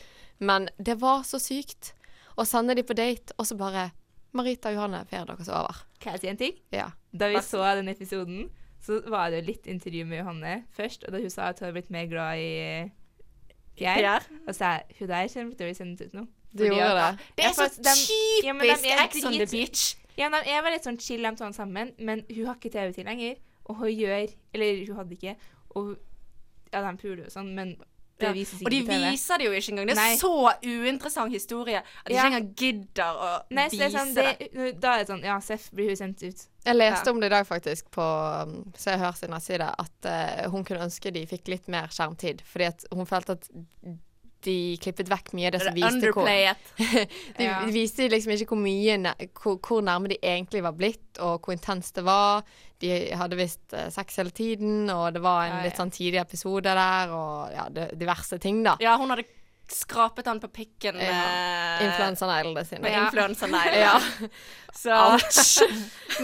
S8: Men det var så sykt å sende de på date, og så bare Marita og Johanne, ferien deres er over.
S9: Kan jeg si en ting?
S8: Ja.
S9: Da vi så den episoden, så var det jo litt intervju med Johanne først, og da hun sa at hun hadde blitt mer glad i eh, Pierre,
S7: Pierre.
S9: og så sa jeg, Altså, hun der kjenner til å bli sendt ut nå.
S8: Det
S9: Fordi
S8: gjorde
S9: at-
S8: det.
S7: Det er
S9: Ja, for
S7: så
S9: at dem- ja, men dem
S7: typisk
S9: er
S7: Ex on the
S9: drit-
S7: Beach.
S9: Ja, de er veldig sånn chill, de to sammen, men hun har ikke TV-tid lenger, og hun gjør, eller hun hadde ikke, og hun- ja, de puler jo sånn, men det
S7: Ja,
S9: vises
S7: Og de
S9: ikke på TV.
S7: viser det jo ikke engang. Det er
S9: Nei.
S7: så uinteressant historie at de
S9: Ja.
S7: ikke engang gidder å
S9: Nei, så det
S7: vise
S9: er sånn,
S7: det.
S9: det, da er det sånn, ja, Seff blir hun sendt ut.
S8: Jeg leste
S9: Ja.
S8: om det i dag faktisk på um, Så jeg hørte sin nettside at eh, hun kunne ønske de fikk litt mer skjermtid. Fordi at hun følte at de klippet vekk mye av det som Altså, viste hvor
S7: Underplay it.
S8: De
S9: Ja.
S8: viste liksom ikke hvor mye næ- hvor, hvor nærme de egentlig var blitt, og hvor intenst det var. De hadde visst eh, sex hele tiden, og det var en
S9: Ja, ja.
S8: litt sånn tidlig episode der, og ja, det, diverse ting, da.
S7: Ja, hun hadde skrapet han på pikken med
S8: Ja. Influenserneglene sine.
S7: Med
S9: [LAUGHS]
S7: influenserneglene.
S8: Ja. [LAUGHS]
S7: Så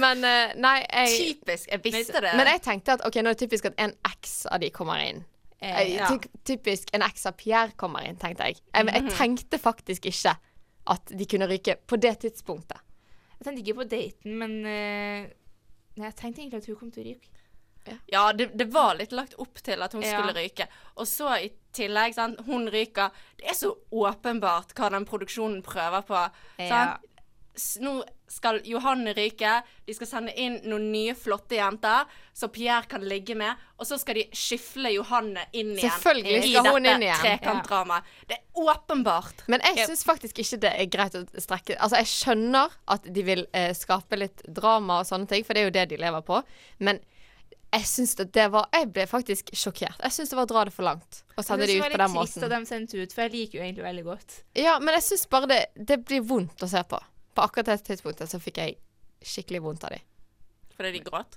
S8: Men eh, nei, jeg
S7: Typisk. Jeg visste det.
S8: Men jeg tenkte at ok, nå er det typisk at en eks av de kommer inn. Eh,
S7: ja.
S8: ty- Typisk en eks av Pierre kommer inn, tenkte jeg. Jeg,
S9: Mhm.
S8: jeg tenkte faktisk ikke at de kunne ryke på det tidspunktet.
S9: Jeg tenkte ikke på daten, men eh, Nei, jeg tenkte egentlig at hun kom til å ryke.
S7: Ja, det, det var litt lagt opp til at hun
S9: Ja.
S7: skulle ryke. Og så i tillegg, sant, hun ryker. Det er så åpenbart hva den produksjonen prøver på.
S9: Ja.
S7: Sant? S- Nå skal Johanne ryke, de skal sende inn noen nye flotte jenter som Pierre kan ligge med, og så skal de skyfle Johanne inn igjen.
S8: Selvfølgelig
S7: i
S8: skal hun
S7: dette
S8: inn igjen.
S7: trekantdramaet. Det er åpenbart.
S8: Men jeg syns faktisk ikke det er greit å strekke Altså, jeg skjønner at de vil eh, skape litt drama og sånne ting, for det er jo det de lever på. Men jeg syns at det var Jeg ble faktisk sjokkert. Jeg syns det var å dra det for langt å sende de ut på den
S9: Det var litt trist
S8: måten.
S9: at de sendte ut, for jeg liker jo egentlig veldig godt.
S8: Ja, men jeg syns bare det, det blir vondt å se på. På akkurat det tidspunktet så fikk jeg skikkelig vondt av dem.
S7: Fordi de gråt.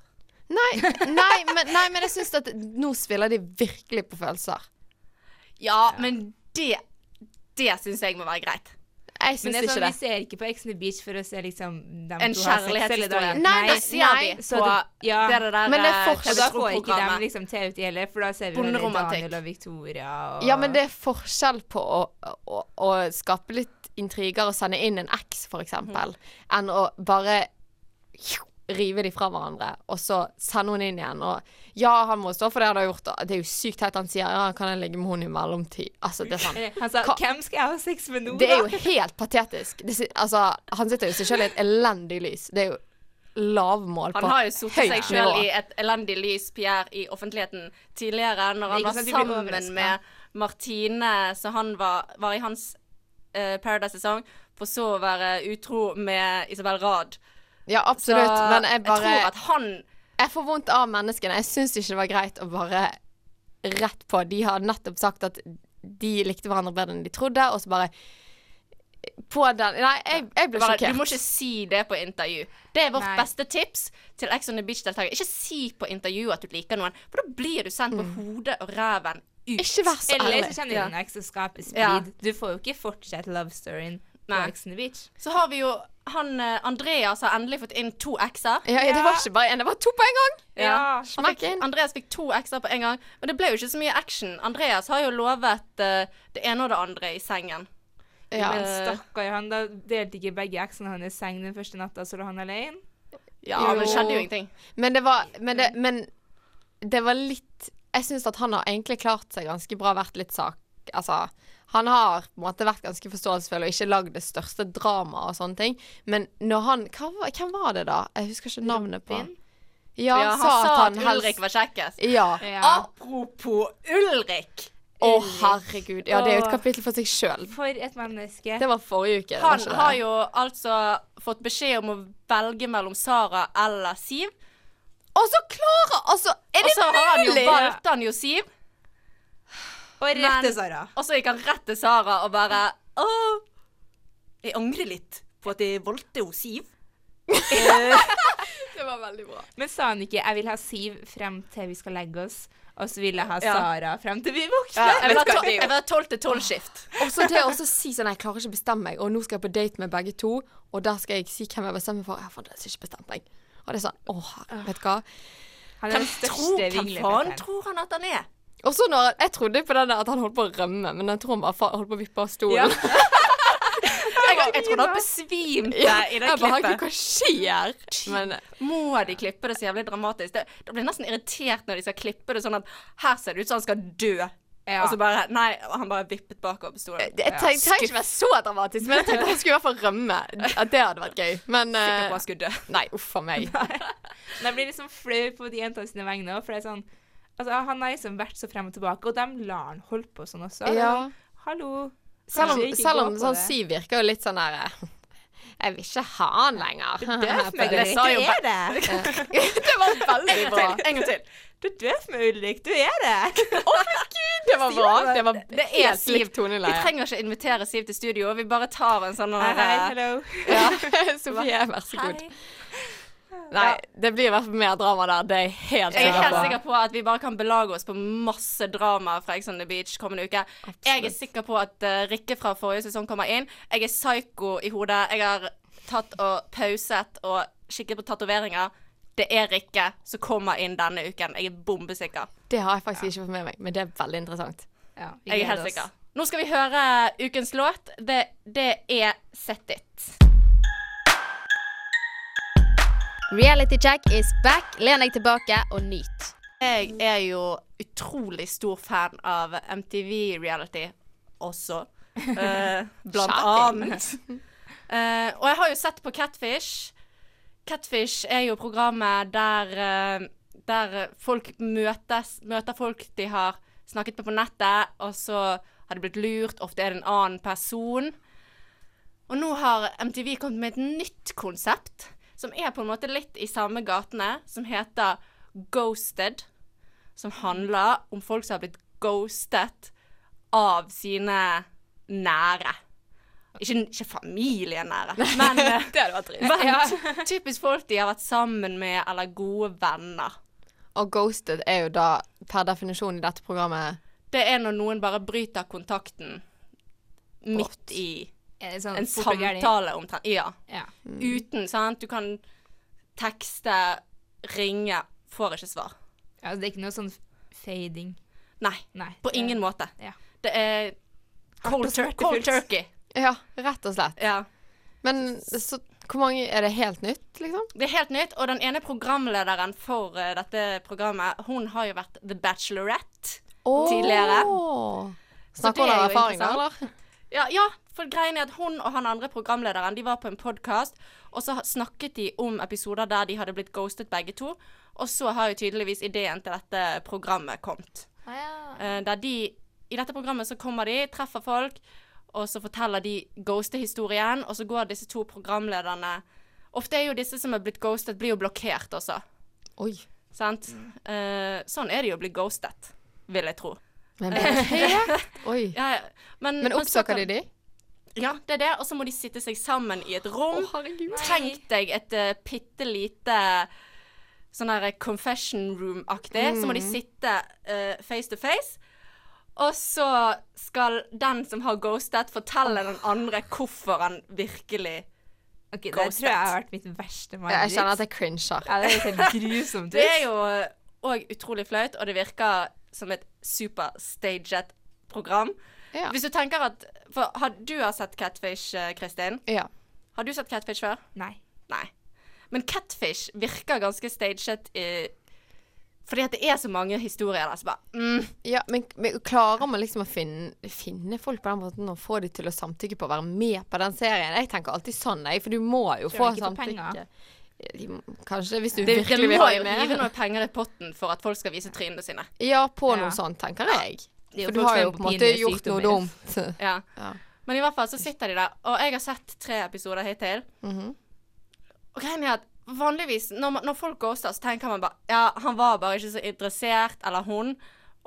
S8: Nei, nei, men, nei, men jeg syns at nå spiller de virkelig på følelser.
S7: Ja, men det Det syns jeg må være greit.
S8: Jeg
S9: Men
S8: syns
S9: det er
S8: ikke
S9: sånn,
S8: det.
S9: vi ser ikke på Ex on the Beach for å se liksom dem
S7: En
S9: to ha sex hele
S7: kjærlighetshistorie.
S9: dagen.
S8: Nei,
S7: Det sier
S8: nei,
S7: de
S9: så
S7: på
S9: det- ja.
S7: det der
S8: Men det er
S7: eh,
S8: forskjell.
S9: Og da får ikke dem
S7: TV2-programmet.
S9: liksom TV-tid heller, for da ser vi veldig
S7: Bonderomantikk.
S9: Daniel og Victoria og
S8: Ja, men det er forskjell på å, å, å skape litt intriger og sende inn en eks, for eksempel,
S9: Mhm.
S8: enn å bare rive de fra hverandre, og så sende hun inn igjen. Og ja, han må stå for det han har gjort, og det er jo sykt teit han sier ja, kan jeg ligge med hun i mellomtid? Altså, det er sånn.
S9: Eller, [LAUGHS] Han sa
S8: Hva-
S9: 'Hvem skal jeg ha sex med nå',
S8: Det er
S9: da?
S8: jo
S9: [LAUGHS]
S8: helt patetisk. Det, si- altså, han sitter jo seg selv i et elendig lys. Det er jo lavmål på
S7: Han har jo sittet seg
S8: høyt
S7: sjøl
S8: nivå.
S7: i et elendig lys, Pierre, i offentligheten tidligere, når
S9: Ikke
S7: han
S8: sånn
S7: var
S9: sant, de blir
S7: sammen
S9: overrasket.
S7: med Martine, så han var, var i hans eh, Paradise-sesong, for så å være utro med Isabel Rad.
S8: Ja,
S7: Så
S8: absolutt. Men jeg bare
S7: tror at han
S8: Jeg får vondt av menneskene. Jeg syns ikke det var greit å bare rett på. De har nettopp sagt at de likte hverandre bedre enn de trodde, og så bare på den Nei, jeg, jeg ble
S7: bare,
S8: sjokkert.
S7: Du må ikke si det på intervju. Det er vårt
S9: Nei.
S7: beste tips til Ex on the Beach-deltakere. Ikke si på intervju at du liker noen, for da blir du sendt på
S8: Mm.
S7: hodet og ræven ut.
S8: Ikke vær så
S9: Eller
S8: ærlig.
S9: så kjenner du en eks og skaper
S7: Ja.
S9: splid. Du får jo ikke fortsette love storyen på
S7: Nei.
S9: Ex on the Beach.
S7: Så har vi jo han eh, Andreas har endelig fått inn to ekser.
S8: Ja, det var ikke bare én, det var to på en gang!
S9: Ja.
S7: Han
S8: Smakk
S7: fikk-
S8: inn.
S7: Andreas fikk to ekser på en gang, men det ble jo ikke så mye action. Andreas har jo lovet eh, det ene og det andre i sengen.
S8: Ja.
S9: Men stakkar, han da delte ikke begge eksene hans seng den første natta, så lå han alene.
S7: Ja, men det skjedde jo ingenting.
S8: Men det var Men det, men det var litt Jeg syns at han har egentlig klart seg ganske bra, vært litt sak... Altså, han har på en måte vært ganske forståelsesfull og ikke lagd det største dramaet og sånne ting. Men når han hva, var- Hvem var det, da? Jeg husker ikke navnet på han. Ja,
S7: Ja, han sa at, Ulrik var kjekkest.
S8: Ja.
S9: Ja.
S7: Apropos Ulrik!
S8: Å, herregud. Ja, det er jo et kapittel for seg sjøl.
S9: For et menneske.
S8: Det var forrige uke. det var
S7: Han
S8: ikke det?
S7: har jo altså fått beskjed om å velge mellom Sara eller Siv.
S8: Og så klarer Altså, er
S7: Og
S8: det
S7: så har han jo
S8: mulig?
S7: valgt han jo Siv,
S9: Og
S7: Men-
S9: rette Sara.
S7: og så gikk han rett til Sara og bare Å, jeg angrer litt på at jeg valgte jo Siv.
S8: Det var veldig bra.
S9: Men sa han ikke 'jeg vil ha Siv frem til vi skal legge oss', og så vil jeg ha
S7: Ja.
S9: Sara frem til vi våkner?
S7: Ja, jeg vil ha tol- jeg vil ha tolv til tolv-skift.
S8: Og så det å også si sånn, jeg klarer ikke å bestemme meg, og nå skal jeg på date med begge to, og der skal jeg si hvem jeg bestemmer for. Jeg har fremdeles ikke bestemt meg. Og det er sånn, åh, vet du hva?
S9: Han er
S7: Hvem
S9: den
S7: tror,
S9: største
S7: hvem faen
S9: vinglepetteren.
S7: tror han at han er?
S8: Og så når, jeg trodde på den der at han holdt på å rømme, men jeg tror han bare fa- holdt på å vippe av stolen.
S9: Ja.
S7: Jeg, jeg trodde han besvimte
S8: Ja,
S7: i det
S8: [LAUGHS] jeg bare,
S7: klippet.
S8: hva skjer? Men
S7: Må de klippe det så jævlig dramatisk? Det, det blir nesten irritert når de skal klippe det sånn at her ser det ut som han skal dø. Og så bare Nei, han bare vippet bakover stolen.
S8: eh, Jeg tenk- tenkte ikke å være så dramatisk, men jeg tenkte han skulle i hvert fall rømme. At det hadde vært gøy. Men
S7: Sikker
S8: eh,
S7: på han [LAUGHS] skulle dø.
S8: Nei, uff a meg.
S9: Men jeg blir liksom flau på de jentene sine vegne òg, for det er sånn Altså, han har liksom vært så frem og tilbake, og de lar han holde på sånn også. Det er
S8: Ja.
S9: sånn, Hallo.
S8: Selv om,
S9: kanskje ikke
S8: selv
S9: gå
S8: om
S9: på
S8: sånn
S9: det.
S8: Siv virker jo litt sånn der eh, Jeg vil ikke ha han lenger. [LAUGHS]
S9: Du døv meg,
S8: Det
S9: Ulrik.
S8: sa jo
S9: Du er det.
S8: Det var veldig
S9: En gang
S8: bra.
S9: til, En gang til. Du er døv meg, Ulrik. Du er det.
S8: Det var bra. Det var
S7: Det er
S8: helt
S7: Siv.
S8: likt
S7: Vi
S8: toneleie.
S7: trenger ikke invitere Siv til studio, vi bare tar en sånn
S9: Hei, hei,
S7: her,
S9: hello.
S8: Ja. [LAUGHS] Sofie, vær så god. Nei, det blir i hvert fall mer drama der. Det er jeg helt
S7: Jeg er
S8: sikker
S7: helt
S8: på.
S7: sikker på at vi bare kan belage oss på masse drama fra Ex on the Beach kommende uke. Jeg er sikker på at eh, Rikke fra forrige sesong kommer inn. Jeg er psycho i hodet. Jeg har tatt og pauset og kikket på tatoveringer. Det er Rikke som kommer inn denne uken. Jeg er bombesikker.
S8: Det har jeg faktisk ikke fått med meg, men det er veldig interessant.
S9: Ja, vi
S7: Jeg er
S9: gleder
S7: helt
S9: oss.
S7: sikker. Nå skal vi høre ukens låt. Det, det er Set It.
S10: Reality check is back. Len deg tilbake og nyt.
S7: Jeg er jo utrolig stor fan av MTV Reality også. Eh, blant
S8: Shocking.
S7: annet. Eh, og jeg har jo sett på Catfish. Catfish er jo programmet der, eh, der folk møtes, møter folk de har snakket med på nettet, og så har de blitt lurt. Ofte er det en annen person. Og nå har MTV kommet med et nytt konsept, som er på en måte litt i samme gatene, som heter Ghosted. Som handler om folk som har blitt ghostet av sine nære. Ikke, ikke familien nære, men eh,
S8: Det hadde vært dritt.
S7: men ty- typisk folk de har vært sammen med, eller gode venner.
S8: Og ghosted er jo da per definisjon i dette programmet
S7: Det er når noen bare bryter kontakten midt i
S9: Er det sånn
S7: en
S9: fort og gærlig?
S7: samtale omtrent. Ja.
S9: Ja.
S7: Uten, sant. Du kan tekste, ringe, får ikke svar.
S9: ja. Det er ikke noe sånn fading.
S7: Nei.
S9: Nei.
S7: På ingen måte.
S9: Ja.
S7: Det er cold,
S9: og
S7: tur cold
S9: smertefullt.
S7: turkey.
S8: Ja, rett og slett.
S7: Ja.
S8: Men så hvor mange Er det helt nytt, liksom?
S7: Det er helt nytt, og den ene programlederen for eh, dette programmet, hun har jo vært The Bachelorette. Tidligere.
S8: Åh.
S7: Så
S8: Snakker
S7: det er
S8: hun av
S7: jo
S8: erfaring, da,
S7: interessant.
S8: eller?
S7: Ja, ja, for greien er at hun og han andre programlederen De var på en podkast, og så ha- snakket de om episoder der de hadde blitt ghostet begge to. Og så har jo tydeligvis ideen til dette programmet kommet. Eh, Der de I dette programmet så kommer de, treffer folk, og så forteller de ghostehistorien, og så går disse to programlederne Ofte er jo disse som er blitt ghostet, blir jo blokkert også.
S8: Oi.
S7: Sant? Eh, sånn er det jo å bli ghostet, vil jeg tro. [LAUGHS]
S8: Men, det- Oi.
S7: Ja, ja. men,
S8: Men
S7: så
S8: oppsøker
S7: kan-
S8: de de?
S7: ja, det er det. Og så må de sitte seg sammen i et rom.
S8: herregud.
S7: Tenk deg et uh, bitte lite sånn her confession room-aktig. Så må
S8: Mm.
S7: de sitte eh, face to face. Og så skal den som har ghostet, fortelle den andre hvorfor han virkelig
S9: Ok, det
S7: Ghosted.
S9: tror jeg har vært mitt verste
S8: Jeg
S9: mareritt.
S8: kjenner at jeg cringer.
S9: Ja, det er helt grusomt.
S7: [LAUGHS] Det er jo òg utrolig flaut, og det virker som et superstaged program.
S8: Ja.
S7: Hvis du tenker at For har, du har sett Catfish, eh, Kristin.
S8: Ja.
S7: Har du sett Catfish før?
S9: Nei.
S7: Nei. Men Catfish virker ganske staged i fordi at det er så mange historier der som bare mm,
S8: Ja, men, men klarer man liksom å finne, finne folk på den måten og få dem til å samtykke på å være med på den serien? Jeg tenker alltid sånn, jeg, for du må jo få
S9: Tror du ikke på
S8: samtykke.
S9: penger?
S8: De må- Kanskje, hvis du
S7: Det
S8: virkelig vil
S7: må
S8: ha
S7: jo
S8: dem
S7: hive
S8: med.
S7: noen penger i potten for at folk skal vise trynene sine.
S8: Ja, på
S9: Ja.
S8: noe sånt, tenker jeg.
S9: er jo
S8: For du
S9: folk
S8: har
S9: som
S8: jo
S9: er
S8: på en måte
S9: pinlige
S8: gjort noe
S9: sykdommer.
S8: dumt. [LAUGHS]
S7: Ja.
S8: Ja.
S7: Men i hvert fall så sitter de der, og jeg har sett tre episoder hittil.
S8: Mhm.
S7: Og greien er at vanligvis når, man, når folk ghoster, så tenker man bare Ja, han var bare ikke så interessert, eller hun,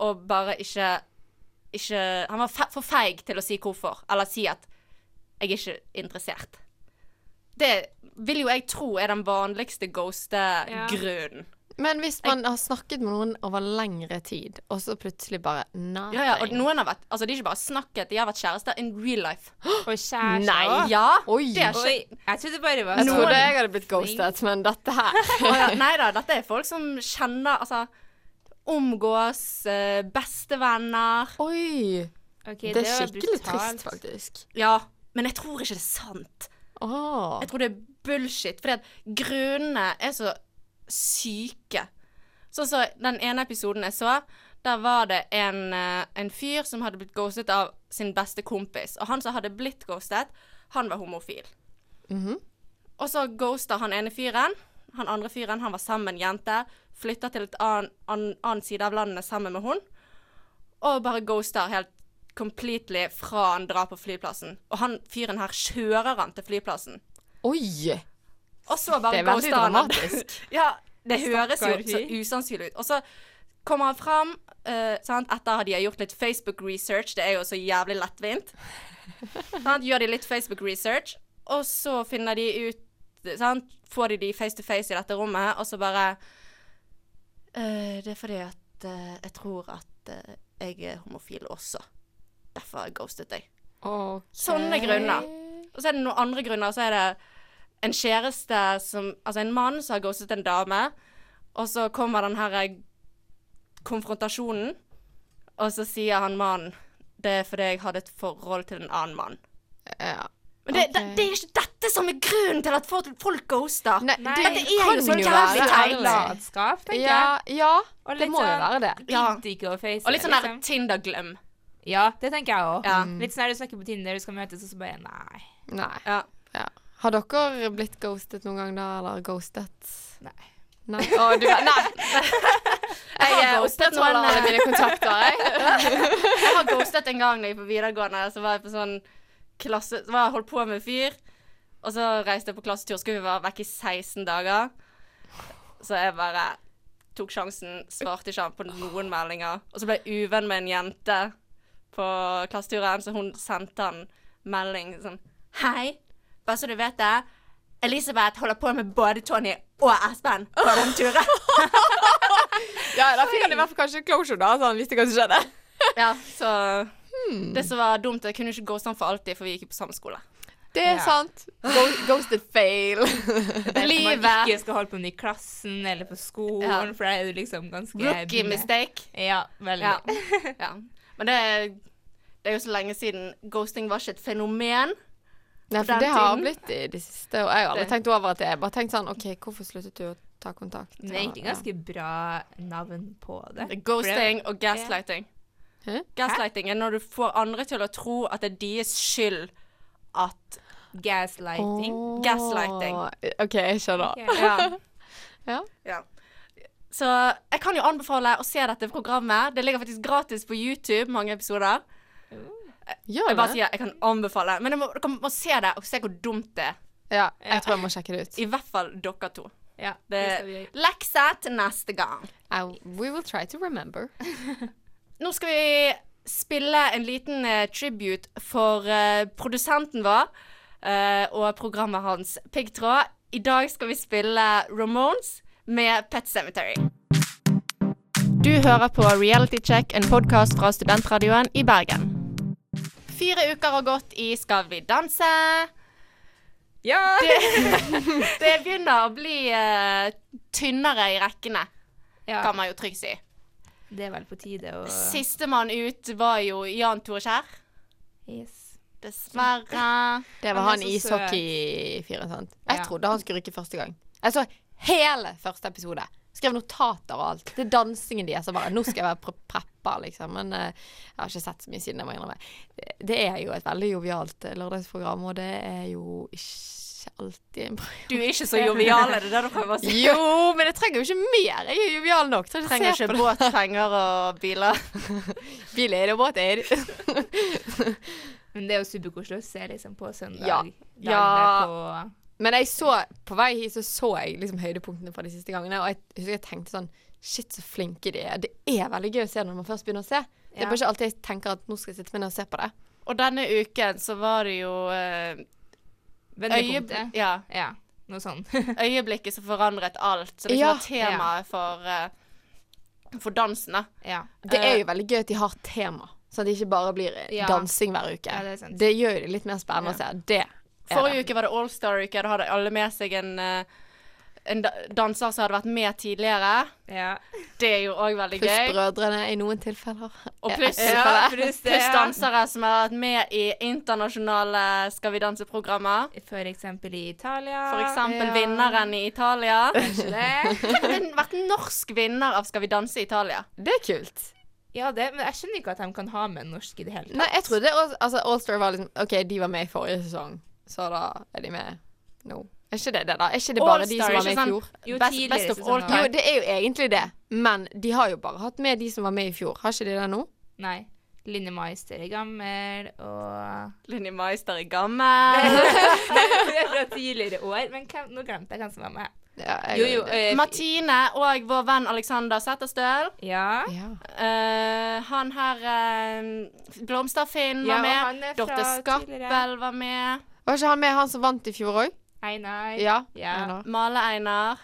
S7: og bare ikke ikke Han var fe for feig til å si hvorfor, eller si at 'jeg er ikke interessert'. Det vil jo jeg tro er den vanligste ghoste-grunnen.
S8: Men hvis man har snakket med noen over lengre tid, og så plutselig bare nei.
S7: Ja, ja, og noen har vært Altså, de har ikke bare snakket, de har vært kjærester in real life.
S9: Og kjæreste
S8: Nei.
S9: også.
S7: Ja,
S8: Oi.
S7: det har skjedd.
S9: Oi, jeg trodde det bare var
S8: Ah. Jeg
S9: sånn-
S8: trodde jeg hadde blitt ghostet, men
S7: [LAUGHS]
S8: dette her
S7: Å ja, nei da, dette er folk som kjenner Altså, omgås, eh, bestevenner
S8: Oi.
S9: Ok,
S8: Det er
S9: var
S8: skikkelig
S9: brutalt.
S8: trist, faktisk.
S7: Ja, Men jeg tror ikke det er sant. Jeg tror det er bullshit. Fordi at grunnene er så syke. Sånn som den ene episoden jeg så, der var det en, eh, en fyr som hadde blitt ghostet av sin beste kompis. Og han som hadde blitt ghostet, han var homofil. Og så ghosta han ene fyren. Han andre fyren han var sammen med en jente. Flytta til et annen, annen, annen side av landet sammen med hun. Og bare ghoster helt completely fra han drar på flyplassen. Og han fyren her kjører han til flyplassen.
S8: Oi!
S7: Og så bare
S8: Det er veldig
S7: ghoster han han.
S8: dramatisk.
S7: [LAUGHS] ja, det høres jo
S8: Stakkar
S7: så
S8: fyr.
S7: usannsynlig ut. Og så kommer han fram eh, sant, etter at de har gjort litt Facebook-research. Det er jo så jævlig lettvint. sant, gjør de litt Facebook-research, og så finner de ut sant, Får de de face to face i dette rommet, og så bare eh, Det er fordi at eh, jeg tror at eh, jeg er homofil også. Derfor har jeg ghostet deg. Sånne grunner. Og så er det noen andre grunner. Så er det en kjæreste som Altså en mann som har ghostet en dame, og så kommer den her eh, konfrontasjonen, og så sier han mannen det er fordi jeg hadde et forhold til en annen mann.
S8: Ja.
S7: Men det, det, det er ikke dette som er grunnen til at folk, folk ghoster.
S8: Nei, det
S7: dette er
S8: kan
S7: jo så
S8: jo
S7: jævlig
S8: være
S7: teit.
S9: Latskap, tenker
S8: Ja,
S9: jeg.
S8: ja
S9: Og
S8: det
S9: litt
S8: må jo
S9: sånn-
S8: være det.
S9: Gidder ikke å face
S7: Og litt sånn der
S9: liksom.
S7: Tinder-glem.
S9: Ja, det tenker jeg òg.
S7: Ja.
S9: Litt sånn her du snakker på Tinder, du skal møtes, og så bare Nei.
S8: Nei.
S7: Ja.
S8: Ja. Har dere blitt ghostet noen gang da, eller ghostet?
S9: Nei.
S8: [LAUGHS] Nei. Å, du,
S7: [LAUGHS]
S8: nei. Jeg
S7: har
S8: er
S7: ghostet
S8: opptatt av
S7: noen,
S8: alle
S7: eh,
S8: mine kontakter, jeg.
S7: Jeg har ghostet en gang da jeg på videregående, så var jeg på sånn klasse Så var jeg holdt på med en fyr, og så reiste jeg på klassetur. Skulle vi være vekk i 16 dager. Så jeg bare tok sjansen, svarte ikke han på noen meldinger. Og så ble jeg uvenn med en jente på klasseturen, så hun sendte han melding sånn Hei, bare så du vet det. Elisabeth holder på med både Tony og Espen på den turen.
S8: [LAUGHS] Ja, da fikk han i hvert fall kanskje closure, da, så han visste hva som skjedde.
S7: Ja, så Det som var dumt, jeg kunne ikke ghoste han for alltid, for vi gikk jo på samme skole.
S8: Det er
S9: Ja.
S8: sant. Go- Ghosted fail.
S9: Det er derfor man
S7: Livet.
S9: ikke skal holde på med i klassen eller på skolen,
S7: Ja.
S9: for da er du liksom ganske
S7: Rookie
S9: blinde.
S7: mistake.
S9: Ja, veldig.
S7: Ja. [LAUGHS] ja. Men det, er- det er jo så lenge siden ghosting var ikke et fenomen.
S8: Nei,
S7: den
S8: for det har
S7: tiden.
S8: blitt i det siste, og jeg har aldri
S7: Det-
S8: tenkt over at det. Jeg har bare tenkt sånn OK, hvorfor sluttet du å ta kontakt?
S9: Men det er egentlig
S8: Ja.
S9: ganske bra navn på det.
S7: Ghosting og gaslighting.
S8: Hæ?
S7: Gaslighting er når du får andre til å tro at det er deres skyld at
S9: Gaslighting.
S8: Åh,
S7: gaslighting.
S8: OK, jeg skjønner.
S9: Ok.
S7: [LAUGHS] Ja.
S8: Ja.
S7: ja. Så jeg kan jo anbefale å se dette programmet. Det ligger faktisk gratis på YouTube, mange episoder.
S8: Gjør
S7: Jeg bare
S8: det.
S7: sier jeg kan anbefale, men dere må, dere må se det og se hvor dumt det er.
S8: Ja, jeg tror jeg må sjekke det ut.
S7: I hvert fall dere to.
S9: Ja,
S7: Det,
S9: det skal vi gjøre.
S7: lekse til neste gang.
S8: I, we will try to remember.
S7: Nå skal vi spille en liten eh, tribute for eh, produsenten vår eh, og programmet hans, Piggtråd. I dag skal vi spille Ramones med Pet Cemetery. Du hører på Reality Check, en podkast fra studentradioen i Bergen. Fire uker har gått i Skal vi danse.
S9: Ja!
S7: Det begynner å bli eh, tynnere i rekkene,
S9: ja.
S7: kan man jo trygt si.
S9: Det er vel på tide
S7: Eh.
S9: å
S7: Sistemann ut var jo Jan Tore Kjær.
S9: yes.
S7: Dessverre.
S8: Det var
S9: Han
S8: han
S9: er så
S8: ishockeyfyren, sant? Jeg
S9: Ja.
S8: trodde han skulle rykke første gang. Jeg så hele første episode. Skrev notater og alt. Det er dansingen de er så bare Nå skal jeg være pre preppa, liksom. Men eh, jeg har ikke sett så mye siden, jeg må innrømme. Det- Det er jo et veldig jovialt eh, lørdagsprogram, og det er jo ikke alltid en bra
S7: Du er ikke så jovial, er det det du prøver å si?
S8: [LAUGHS] Jo, men jeg trenger jo ikke mer. Jeg er jovial nok.
S7: [LAUGHS]
S8: Trenger,
S7: Trenger ikke båt, penger og biler.
S8: Biler og båter. [LAUGHS]
S9: Men det er jo superkoselig å se liksom på søndag.
S8: Ja.
S9: dagen
S7: Ja.
S9: derpå.
S8: Men jeg så, på vei hit så så jeg liksom høydepunktene fra de siste gangene, og jeg husker jeg tenkte sånn Shit, så flinke de er. Det er veldig gøy å se når man først begynner å se. Det er
S9: Ja.
S8: bare ikke alltid jeg tenker at nå skal jeg sitte meg ned og se på det.
S7: Og denne uken så var det jo eh, øyeblikk,
S9: Vendepunktet.
S7: ja,
S9: Ja. Noe sånn.
S7: øyeblikket som forandret alt. Så det
S8: Ja,
S7: var temaet for, eh, for dansen, da.
S9: [LAUGHS] ja.
S8: Det er jo veldig gøy at de har tema, sånn at det ikke bare blir eh,
S9: Ja.
S8: dansing hver uke.
S9: Ja, det er sant.
S8: gjør jo det litt mer spennende å se. Det er
S7: Forrige
S8: det.
S7: uke var det All Star uke Da hadde alle med seg en eh, en da- danser som hadde vært med tidligere. Det er jo òg veldig
S8: Pluss
S7: gøy.
S8: brødrene i noen tilfeller.
S7: Og
S8: Ja,
S7: pluss
S8: tilfeller.
S7: pluss dansere som har vært med i internasjonale Skal vi danse-programmer.
S9: For eksempel i Italia.
S7: For eksempel
S9: Ja.
S7: vinneren i Italia.
S9: Kanskje det.
S7: Hvem ville vært norsk vinner av Skal vi danse i Italia?
S8: Det er kult.
S9: [LAUGHS] Ja, det, men jeg skjønner ikke at de kan ha med en norsk i det hele tatt.
S8: Nei, jeg trodde også- altså, Allstar var liksom OK, de var med i forrige sesong, så da er de med nå. Er ikke det det, da? Er ikke det bare de som
S7: All-star,
S8: var
S7: ikke
S8: med i fjor?
S7: sant? Jo, Best- tidligere best of all sesonger. time.
S8: Jo, det er jo egentlig det, men de har jo bare hatt med de som var med i fjor. Har ikke de det nå?
S9: Nei. Linni Meister er gammel, og
S7: Linni Meister er gammel.
S9: Det er fra tidligere år, men hvem, nå glemte jeg hvem som var med. jo, jo,
S7: [LAUGHS]
S9: eh,
S7: Martine og vår venn Alexander Setterstøl.
S9: Ja.
S7: Eh, han her eh, Blomsterfinn
S9: Ja,
S7: var
S9: og han
S7: med.
S9: er fra
S7: Dorte Skappel
S9: tidligere.
S7: var med.
S8: Var ikke han med han som vant i fjor òg?
S9: Einar.
S8: Ja.
S9: ja.
S7: Male-Einar.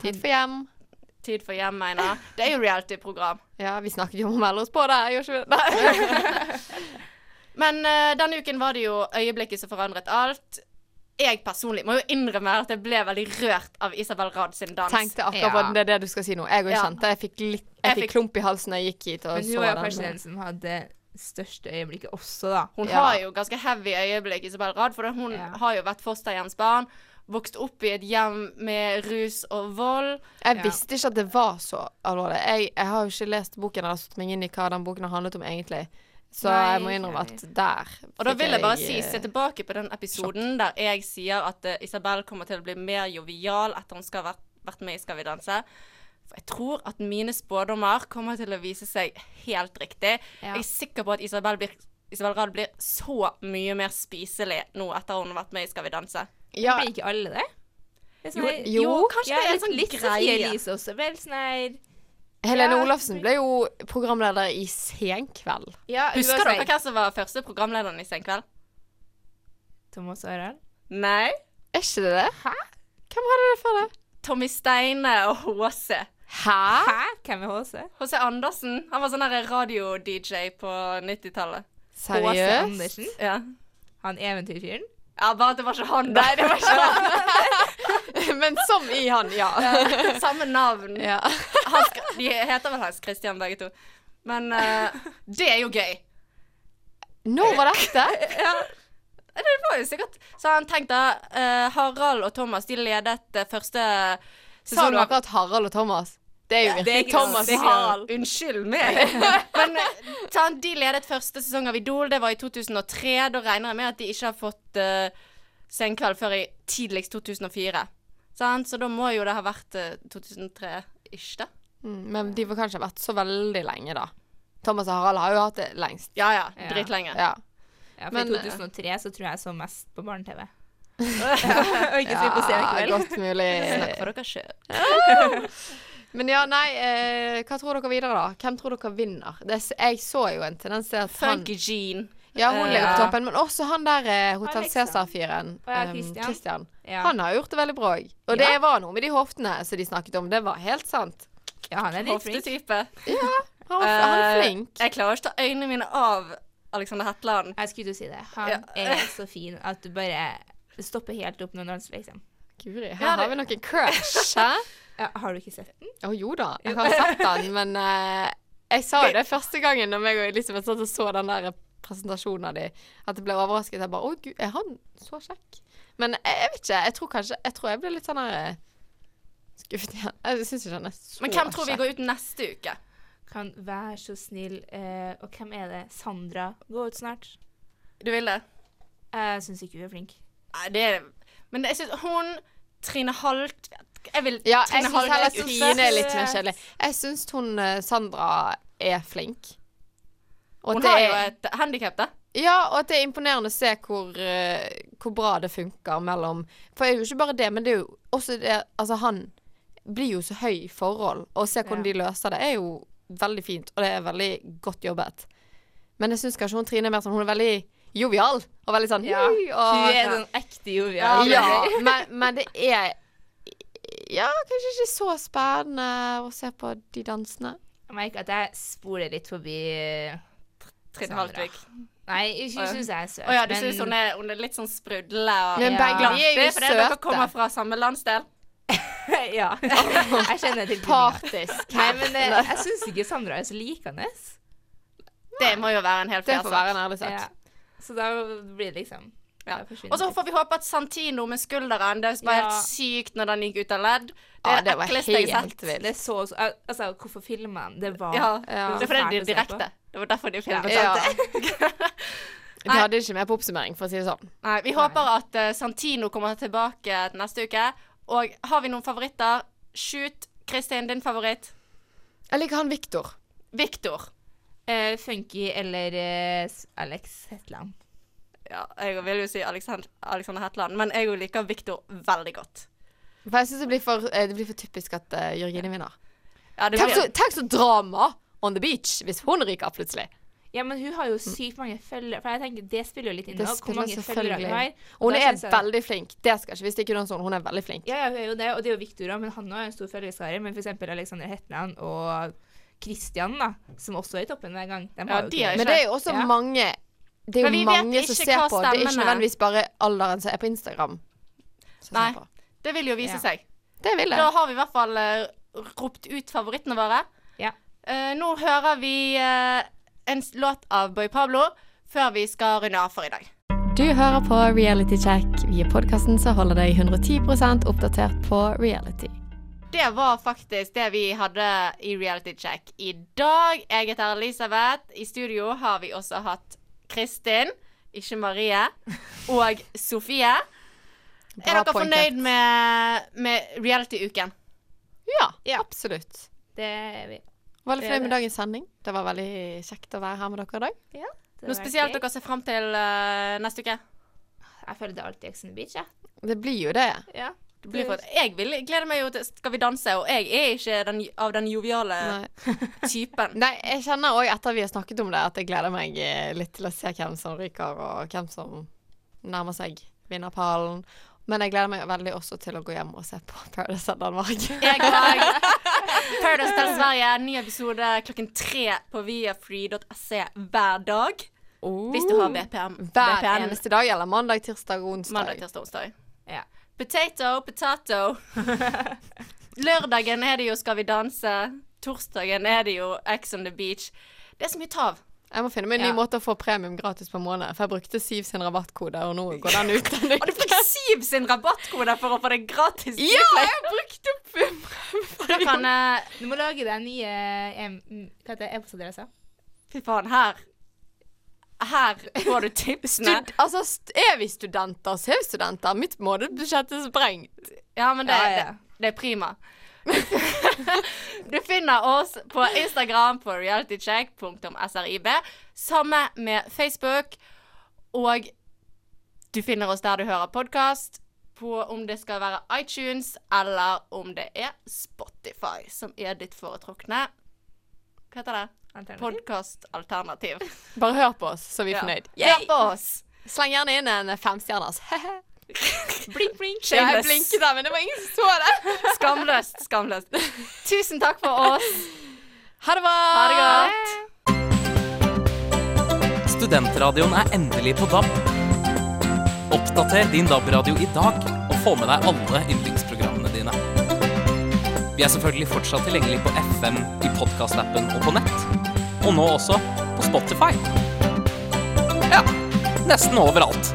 S8: Tid for hjem.
S7: Tid for hjem, Einar. Det er jo reality-program.
S8: Ja, vi snakket jo om å melde oss på det, gjorde ikke vi [LAUGHS] det?
S7: Men eh, denne uken var det jo øyeblikket som forandret alt. Jeg personlig må jo innrømme at jeg ble veldig rørt av Isabel Rad sin dans.
S8: Tenkte akkurat det er det du skal si nå. Jeg òg
S7: Ja.
S8: kjente jeg fikk litt
S7: Jeg
S8: jeg fikk
S7: fikk-
S8: klump i halsen da jeg gikk hit og
S9: Men
S8: så
S9: hun var jo
S8: den.
S9: kanskje den som hadde største øyeblikket også, da.
S7: Hun
S8: Ja.
S7: har jo ganske heavy øyeblikk, Isabel Rad, for hun har jo vært fosterhjemsbarn. Vokst opp i et hjem med rus og vold.
S8: Jeg visste ikke at det var så alvorlig. Jeg, jeg har jo ikke lest boken eller satt meg inn i hva den boken har handlet om egentlig. Så
S7: Nei,
S8: jeg må innrømme at der
S7: Og da
S8: fikk
S7: vil jeg bare si,
S8: eh,
S7: se tilbake på den episoden der jeg sier at eh, Isabel kommer til å bli mer jovial etter hun skal ha vært, vært med i Skal vi danse. For jeg tror at mine spådommer kommer til å vise seg helt riktig.
S9: Ja.
S7: Jeg er sikker på at Isabel, blir, Isabel Rad blir så mye mer spiselig nå etter hun har vært med i Skal vi danse.
S8: eh, Ja.
S9: Blir ikke alle det? det er sånn
S7: Jo,
S9: her-
S8: jo,
S7: kanskje
S9: ja,
S7: det er
S9: litt
S7: en sånn
S9: litt
S7: greie.
S9: Sofie Elise også. Vel, sånn her
S8: Helene
S9: Ja.
S8: Olafsen ble jo programleder i Senkveld.
S9: Ja, hun
S7: Husker
S9: var
S7: dere
S9: sånn-
S7: hvem som var første programlederen i Senkveld?
S9: Thomas og Harald.
S7: Nei.
S8: Er ikke det det? Hæ? Hvem hadde det før det?
S7: Tommy Steine og HC.
S8: Hæ?
S9: Hæ? Hvem er HC?
S7: HC Andersen. Han var sånn der radio-DJ på 90-tallet.
S9: HC
S8: Seriøst?
S9: Andersen?
S7: Ja.
S9: Han eventyrfyren?
S7: ja, bare at det var ikke han, da.
S8: Nei, det var ikke han. Men som i [LAUGHS] han, ja.
S7: Samme navn.
S8: ja.
S7: Hans, de heter vel Hans Christian, begge to. Men eh, det er jo gøy.
S8: Når var [LAUGHS] dette?
S7: Det var jo sikkert Så han tenkte eh, Harald og Thomas de ledet eh, første
S8: Sa du
S7: sesongen av-
S8: akkurat Harald og Thomas? Det er jo
S9: Det er
S8: virkelig
S9: ikke-
S8: Thomas og
S9: det er ikke-
S8: Harald.
S7: Unnskyld meg.
S8: [LAUGHS]
S7: Men eh, sant, de ledet første sesong av Idol. Det var i 2003. Da regner jeg med at de ikke har fått eh, Senkveld før i tidligst 2004. Sant? Så da må jo det ha vært eh, 2003-ish, da.
S8: Mm, Men de får kanskje ha vært så veldig lenge, da. Thomas og Harald har jo hatt det lengst.
S7: Ja ja,
S9: Ja.
S7: dritlenge.
S8: Ja.
S9: Ja, for
S8: Men, eh,
S9: I 2003 så tror jeg jeg så mest på
S8: [LAUGHS]
S9: barne-TV. og ikke så mye på
S8: [LAUGHS] Ja,
S9: Senkveld.
S8: Ah, godt mulig.
S7: Snakk for dere sjøl.
S8: Men ja, nei, eh, hva tror dere videre, da? Hvem tror dere vinner? Det, er s- jeg så jo en tendens til at han
S7: Funky Jean.
S8: Ja, hun ligger
S9: Ja.
S8: på toppen, men også han der eh, Hotell
S9: Alexander.
S8: Cæsar-fyren.
S9: Å ja,
S8: em,
S9: Christian.
S8: Christian.
S9: Ja.
S8: Han har gjort det veldig bra òg. Og det var noe med de hoftene som de snakket om. Det var helt sant.
S9: Ja, han er litt flink.
S7: Hoftetype.
S8: Han, var- han er
S7: Eh,
S8: flink.
S7: Jeg klarer ikke å ta øynene mine av Alexander Hetland.
S9: Jeg skulle til å si det. Han
S7: Ja.
S9: er så fin at du bare stopper helt opp når han danser, liksom.
S8: Guri, her
S7: Ja, det-
S8: har vi noen crush, hæ?
S9: Ja, har du ikke sett den?
S8: [LAUGHS] Å jo da, jeg har sett den, men eh, jeg sa jo det første gangen når jeg og Elisabeth satt og så den der presentasjonen av de, at jeg ble overrasket. Jeg bare Å gud, er han så kjekk? Men eh, jeg, jeg vet ikke. Jeg tror kanskje Jeg tror jeg ble litt sånn her eh, skuffet igjen. Jeg syns ikke han er så
S7: Men hvem tror vi
S8: kjekk.
S7: går ut neste uke?
S9: Kan være så snill. eh, og hvem er det? Sandra. Gå ut snart.
S7: Du vil det?
S9: Jeg syns ikke hun er flink.
S7: Nei, det er Men jeg syns hun Trine Halt Jeg vil
S8: Ja,
S7: Trine
S8: jeg syns heller
S7: Halt
S8: Trine er litt mer kjedelig. Jeg syns hun eh, Sandra er flink. Og
S7: Hun
S8: det
S7: har jo
S8: er,
S7: et handikap, da.
S8: ja, og at det er imponerende å se hvor, eh, hvor bra det funker mellom For det er jo ikke bare det, men det er jo også det Altså, han blir jo så høy i forhold, og se hvordan
S9: Ja.
S8: de løser det, er jo veldig fint, og det er veldig godt jobbet. Men jeg syns kanskje hun Trine er mer sånn Hun er veldig jovial, og veldig sånn
S9: Ja.
S8: «Hei», og,
S9: Hun er sånn ekte jovial.
S8: ja, men, men det [LAUGHS] er Ja, kanskje ikke så spennende å se på de dansene.
S9: Jeg merker at jeg spoler litt forbi eh,
S7: Trine
S9: Sandra.
S7: Haltvik.
S9: Nei, hun syns jeg er søt.
S7: Å ja, du
S9: men-
S7: syns hun, er- hun er litt sånn sprudlende og
S8: Men
S9: Ja.
S8: begge de
S7: Det
S8: er jo
S7: er fordi dere
S8: søte.
S7: kommer fra samme landsdel.
S9: [LAUGHS] ja.
S7: [LAUGHS]
S9: Jeg kjenner til
S7: Partisk.
S9: Nei, men det, jeg syns ikke Sandra er så likende.
S7: Det må jo være en helt
S9: Det
S7: fair
S9: får
S7: sak.
S9: være en ærlig sak. Ja. Så da blir det liksom
S7: Ja. Og så får vi håpe at Santino med skulderen Det var
S9: Ja.
S7: helt sykt når den gikk ut av ledd. Det
S9: Ja,
S7: er det
S9: var
S7: ekleste jeg har
S9: helt
S7: sett.
S9: vilt. Det er så, så, al- altså, hvorfor filmer han? Det var
S7: Ja.
S9: var
S7: Det er fordi
S9: fælt
S7: det er
S9: å se på.
S7: direkte. Det var derfor de filmet
S9: Ja.
S7: det.
S8: De hadde ikke med på oppsummering, for å si det sånn.
S7: Nei, vi håper at eh, Santino kommer tilbake neste uke. Og har vi noen favoritter? Shoot. Kristin, din favoritt?
S8: Jeg liker han Viktor.
S7: Viktor.
S9: Eh, funky eller eh, s- Alex Hetland.
S7: Ja, jeg vil jo si Alexand- Alexander Hetland, men jeg jo liker Viktor veldig godt.
S8: For jeg syns det, blir for- eh, det blir for typisk at eh, Jørgine vinner.
S7: Ja, det
S8: tenk,
S7: blir-
S8: så, tenk så drama on the beach hvis hun ryker plutselig.
S9: Ja, men hun har jo sykt mange følgere. For jeg tenker, det spiller jo litt inn
S8: Mm. Det
S9: nå, hvor
S8: spiller
S9: mange følgere hun har.
S8: selvfølgelig.
S9: Og
S8: Hun
S9: da
S8: er
S9: synes jeg-
S8: veldig flink. Det skal ikke vi stikke under sånn. Hun er veldig flink.
S9: Ja, ja, hun er jo det, og det er jo Victor òg, men han har jo en stor følgeskare. Men f.eks. Alexander Hetland og Christian, da, som også er i toppen hver gang. De har jo ikke
S8: Men det er jo også
S9: Ja.
S8: mange Det er
S7: Men vi
S8: jo
S7: vet
S8: mange som
S7: ikke
S8: ser
S7: hva
S8: på. Det
S7: stemmene
S8: er ikke
S7: er.
S8: nødvendigvis bare alderen som er på Instagram.
S7: Nei, det vil jo vise
S8: Ja.
S7: seg.
S8: Det vil det.
S7: Da har vi i hvert fall eh, ropt ut favorittene våre. Eh, nå hører vi eh, en s- låt av Boy Pablo før vi skal runde av for i dag.
S8: Du hører på Reality Check. Vi er podkasten som holder deg 110 oppdatert på reality.
S7: Det var faktisk det vi hadde i Reality Check i dag. Jeg heter Elisabeth. I studio har vi også hatt Kristin, ikke Marie, og Sofie. er dere
S9: pointet.
S7: fornøyd med, med reality-uken?
S8: Ja, absolutt.
S9: Det er vi.
S8: Veldig
S7: Det er
S8: fornøyd med
S7: det.
S8: dagens sending. Det var veldig kjekt å være her med dere i dag.
S9: Ja, det
S7: Noe
S9: var
S7: spesielt
S9: gøy.
S7: dere ser fram til eh, neste uke?
S9: Jeg føler det er alltid Ex on the Beach, jeg.
S8: Det blir jo det.
S9: Ja.
S7: Det blir for, jeg vil, jeg gleder meg jo til Skal vi danse, og jeg er ikke den, av den joviale
S8: [LAUGHS]
S7: typen.
S8: Nei, jeg kjenner òg etter vi har snakket om det, at jeg gleder meg eh, litt til å se hvem som ryker, og hvem som nærmer seg vinnerpallen. Men jeg gleder meg veldig også til å gå hjem og se på Paradise of Danmark.
S7: Paradise Hotel Sverige, ny episode klokken tre på viafree.se E hver dag. Hvis du har
S9: [LAUGHS]
S7: VPN.
S8: [LAUGHS] Hver
S7: VPN.
S8: eneste dag, eller mandag, tirsdag og onsdag.
S7: Mandag, tirsdag, onsdag. Potato, potato. [LAUGHS] Lørdagen er det jo Skal vi danse. Torsdagen er det jo Ex on the beach. Det er så mye trav.
S8: Jeg må finne meg en
S7: Ja.
S8: ny måte å få premium gratis per måned, for jeg brukte Siv sin rabattkode, [LAUGHS] og nå går den ut.
S7: Og du [LAUGHS] fikk Siv sin rabattkode for å få det gratis.
S8: Ja, jeg
S7: brukte opp Da kan eh,
S9: Du må lage deg nye em, mm, Hva heter det? E-postadresser.
S7: Fy faen, her Her får du tipsene.
S8: Stud, altså, st er vi studenter, så er vi studenter. Mitt månedsbudsjett er sprengt.
S7: Ja, men det,
S8: Ja, ja.
S7: det, det er prima. [LAUGHS] Du finner oss på Instagram på realitycheck.srib. Samme med Facebook. Og du finner oss der du hører podkast. På om det skal være iTunes, eller om det er Spotify, som er ditt foretrukne Hva heter det? Podkastalternativ.
S8: Bare hør på oss, så er vi
S7: Ja.
S8: fornøyd.
S7: Hør på oss.
S8: Sleng gjerne inn en femstjerners. [LAUGHS]
S7: blink, blink.
S8: Ja, jeg blinket der, men det var ingen som så [LAUGHS] det.
S7: Skamløst,
S8: [LAUGHS]
S7: skamløst. Tusen takk for oss.
S8: Ha det bra.
S7: Ha det godt.
S13: Studentradioen er endelig på DAB. Oppdater din DAB-radio i dag og få med deg alle yndlingsprogrammene dine. Vi er selvfølgelig fortsatt tilgjengelig på FM, i podkastappen og på nett. Og nå også på Spotify. Ja, nesten overalt.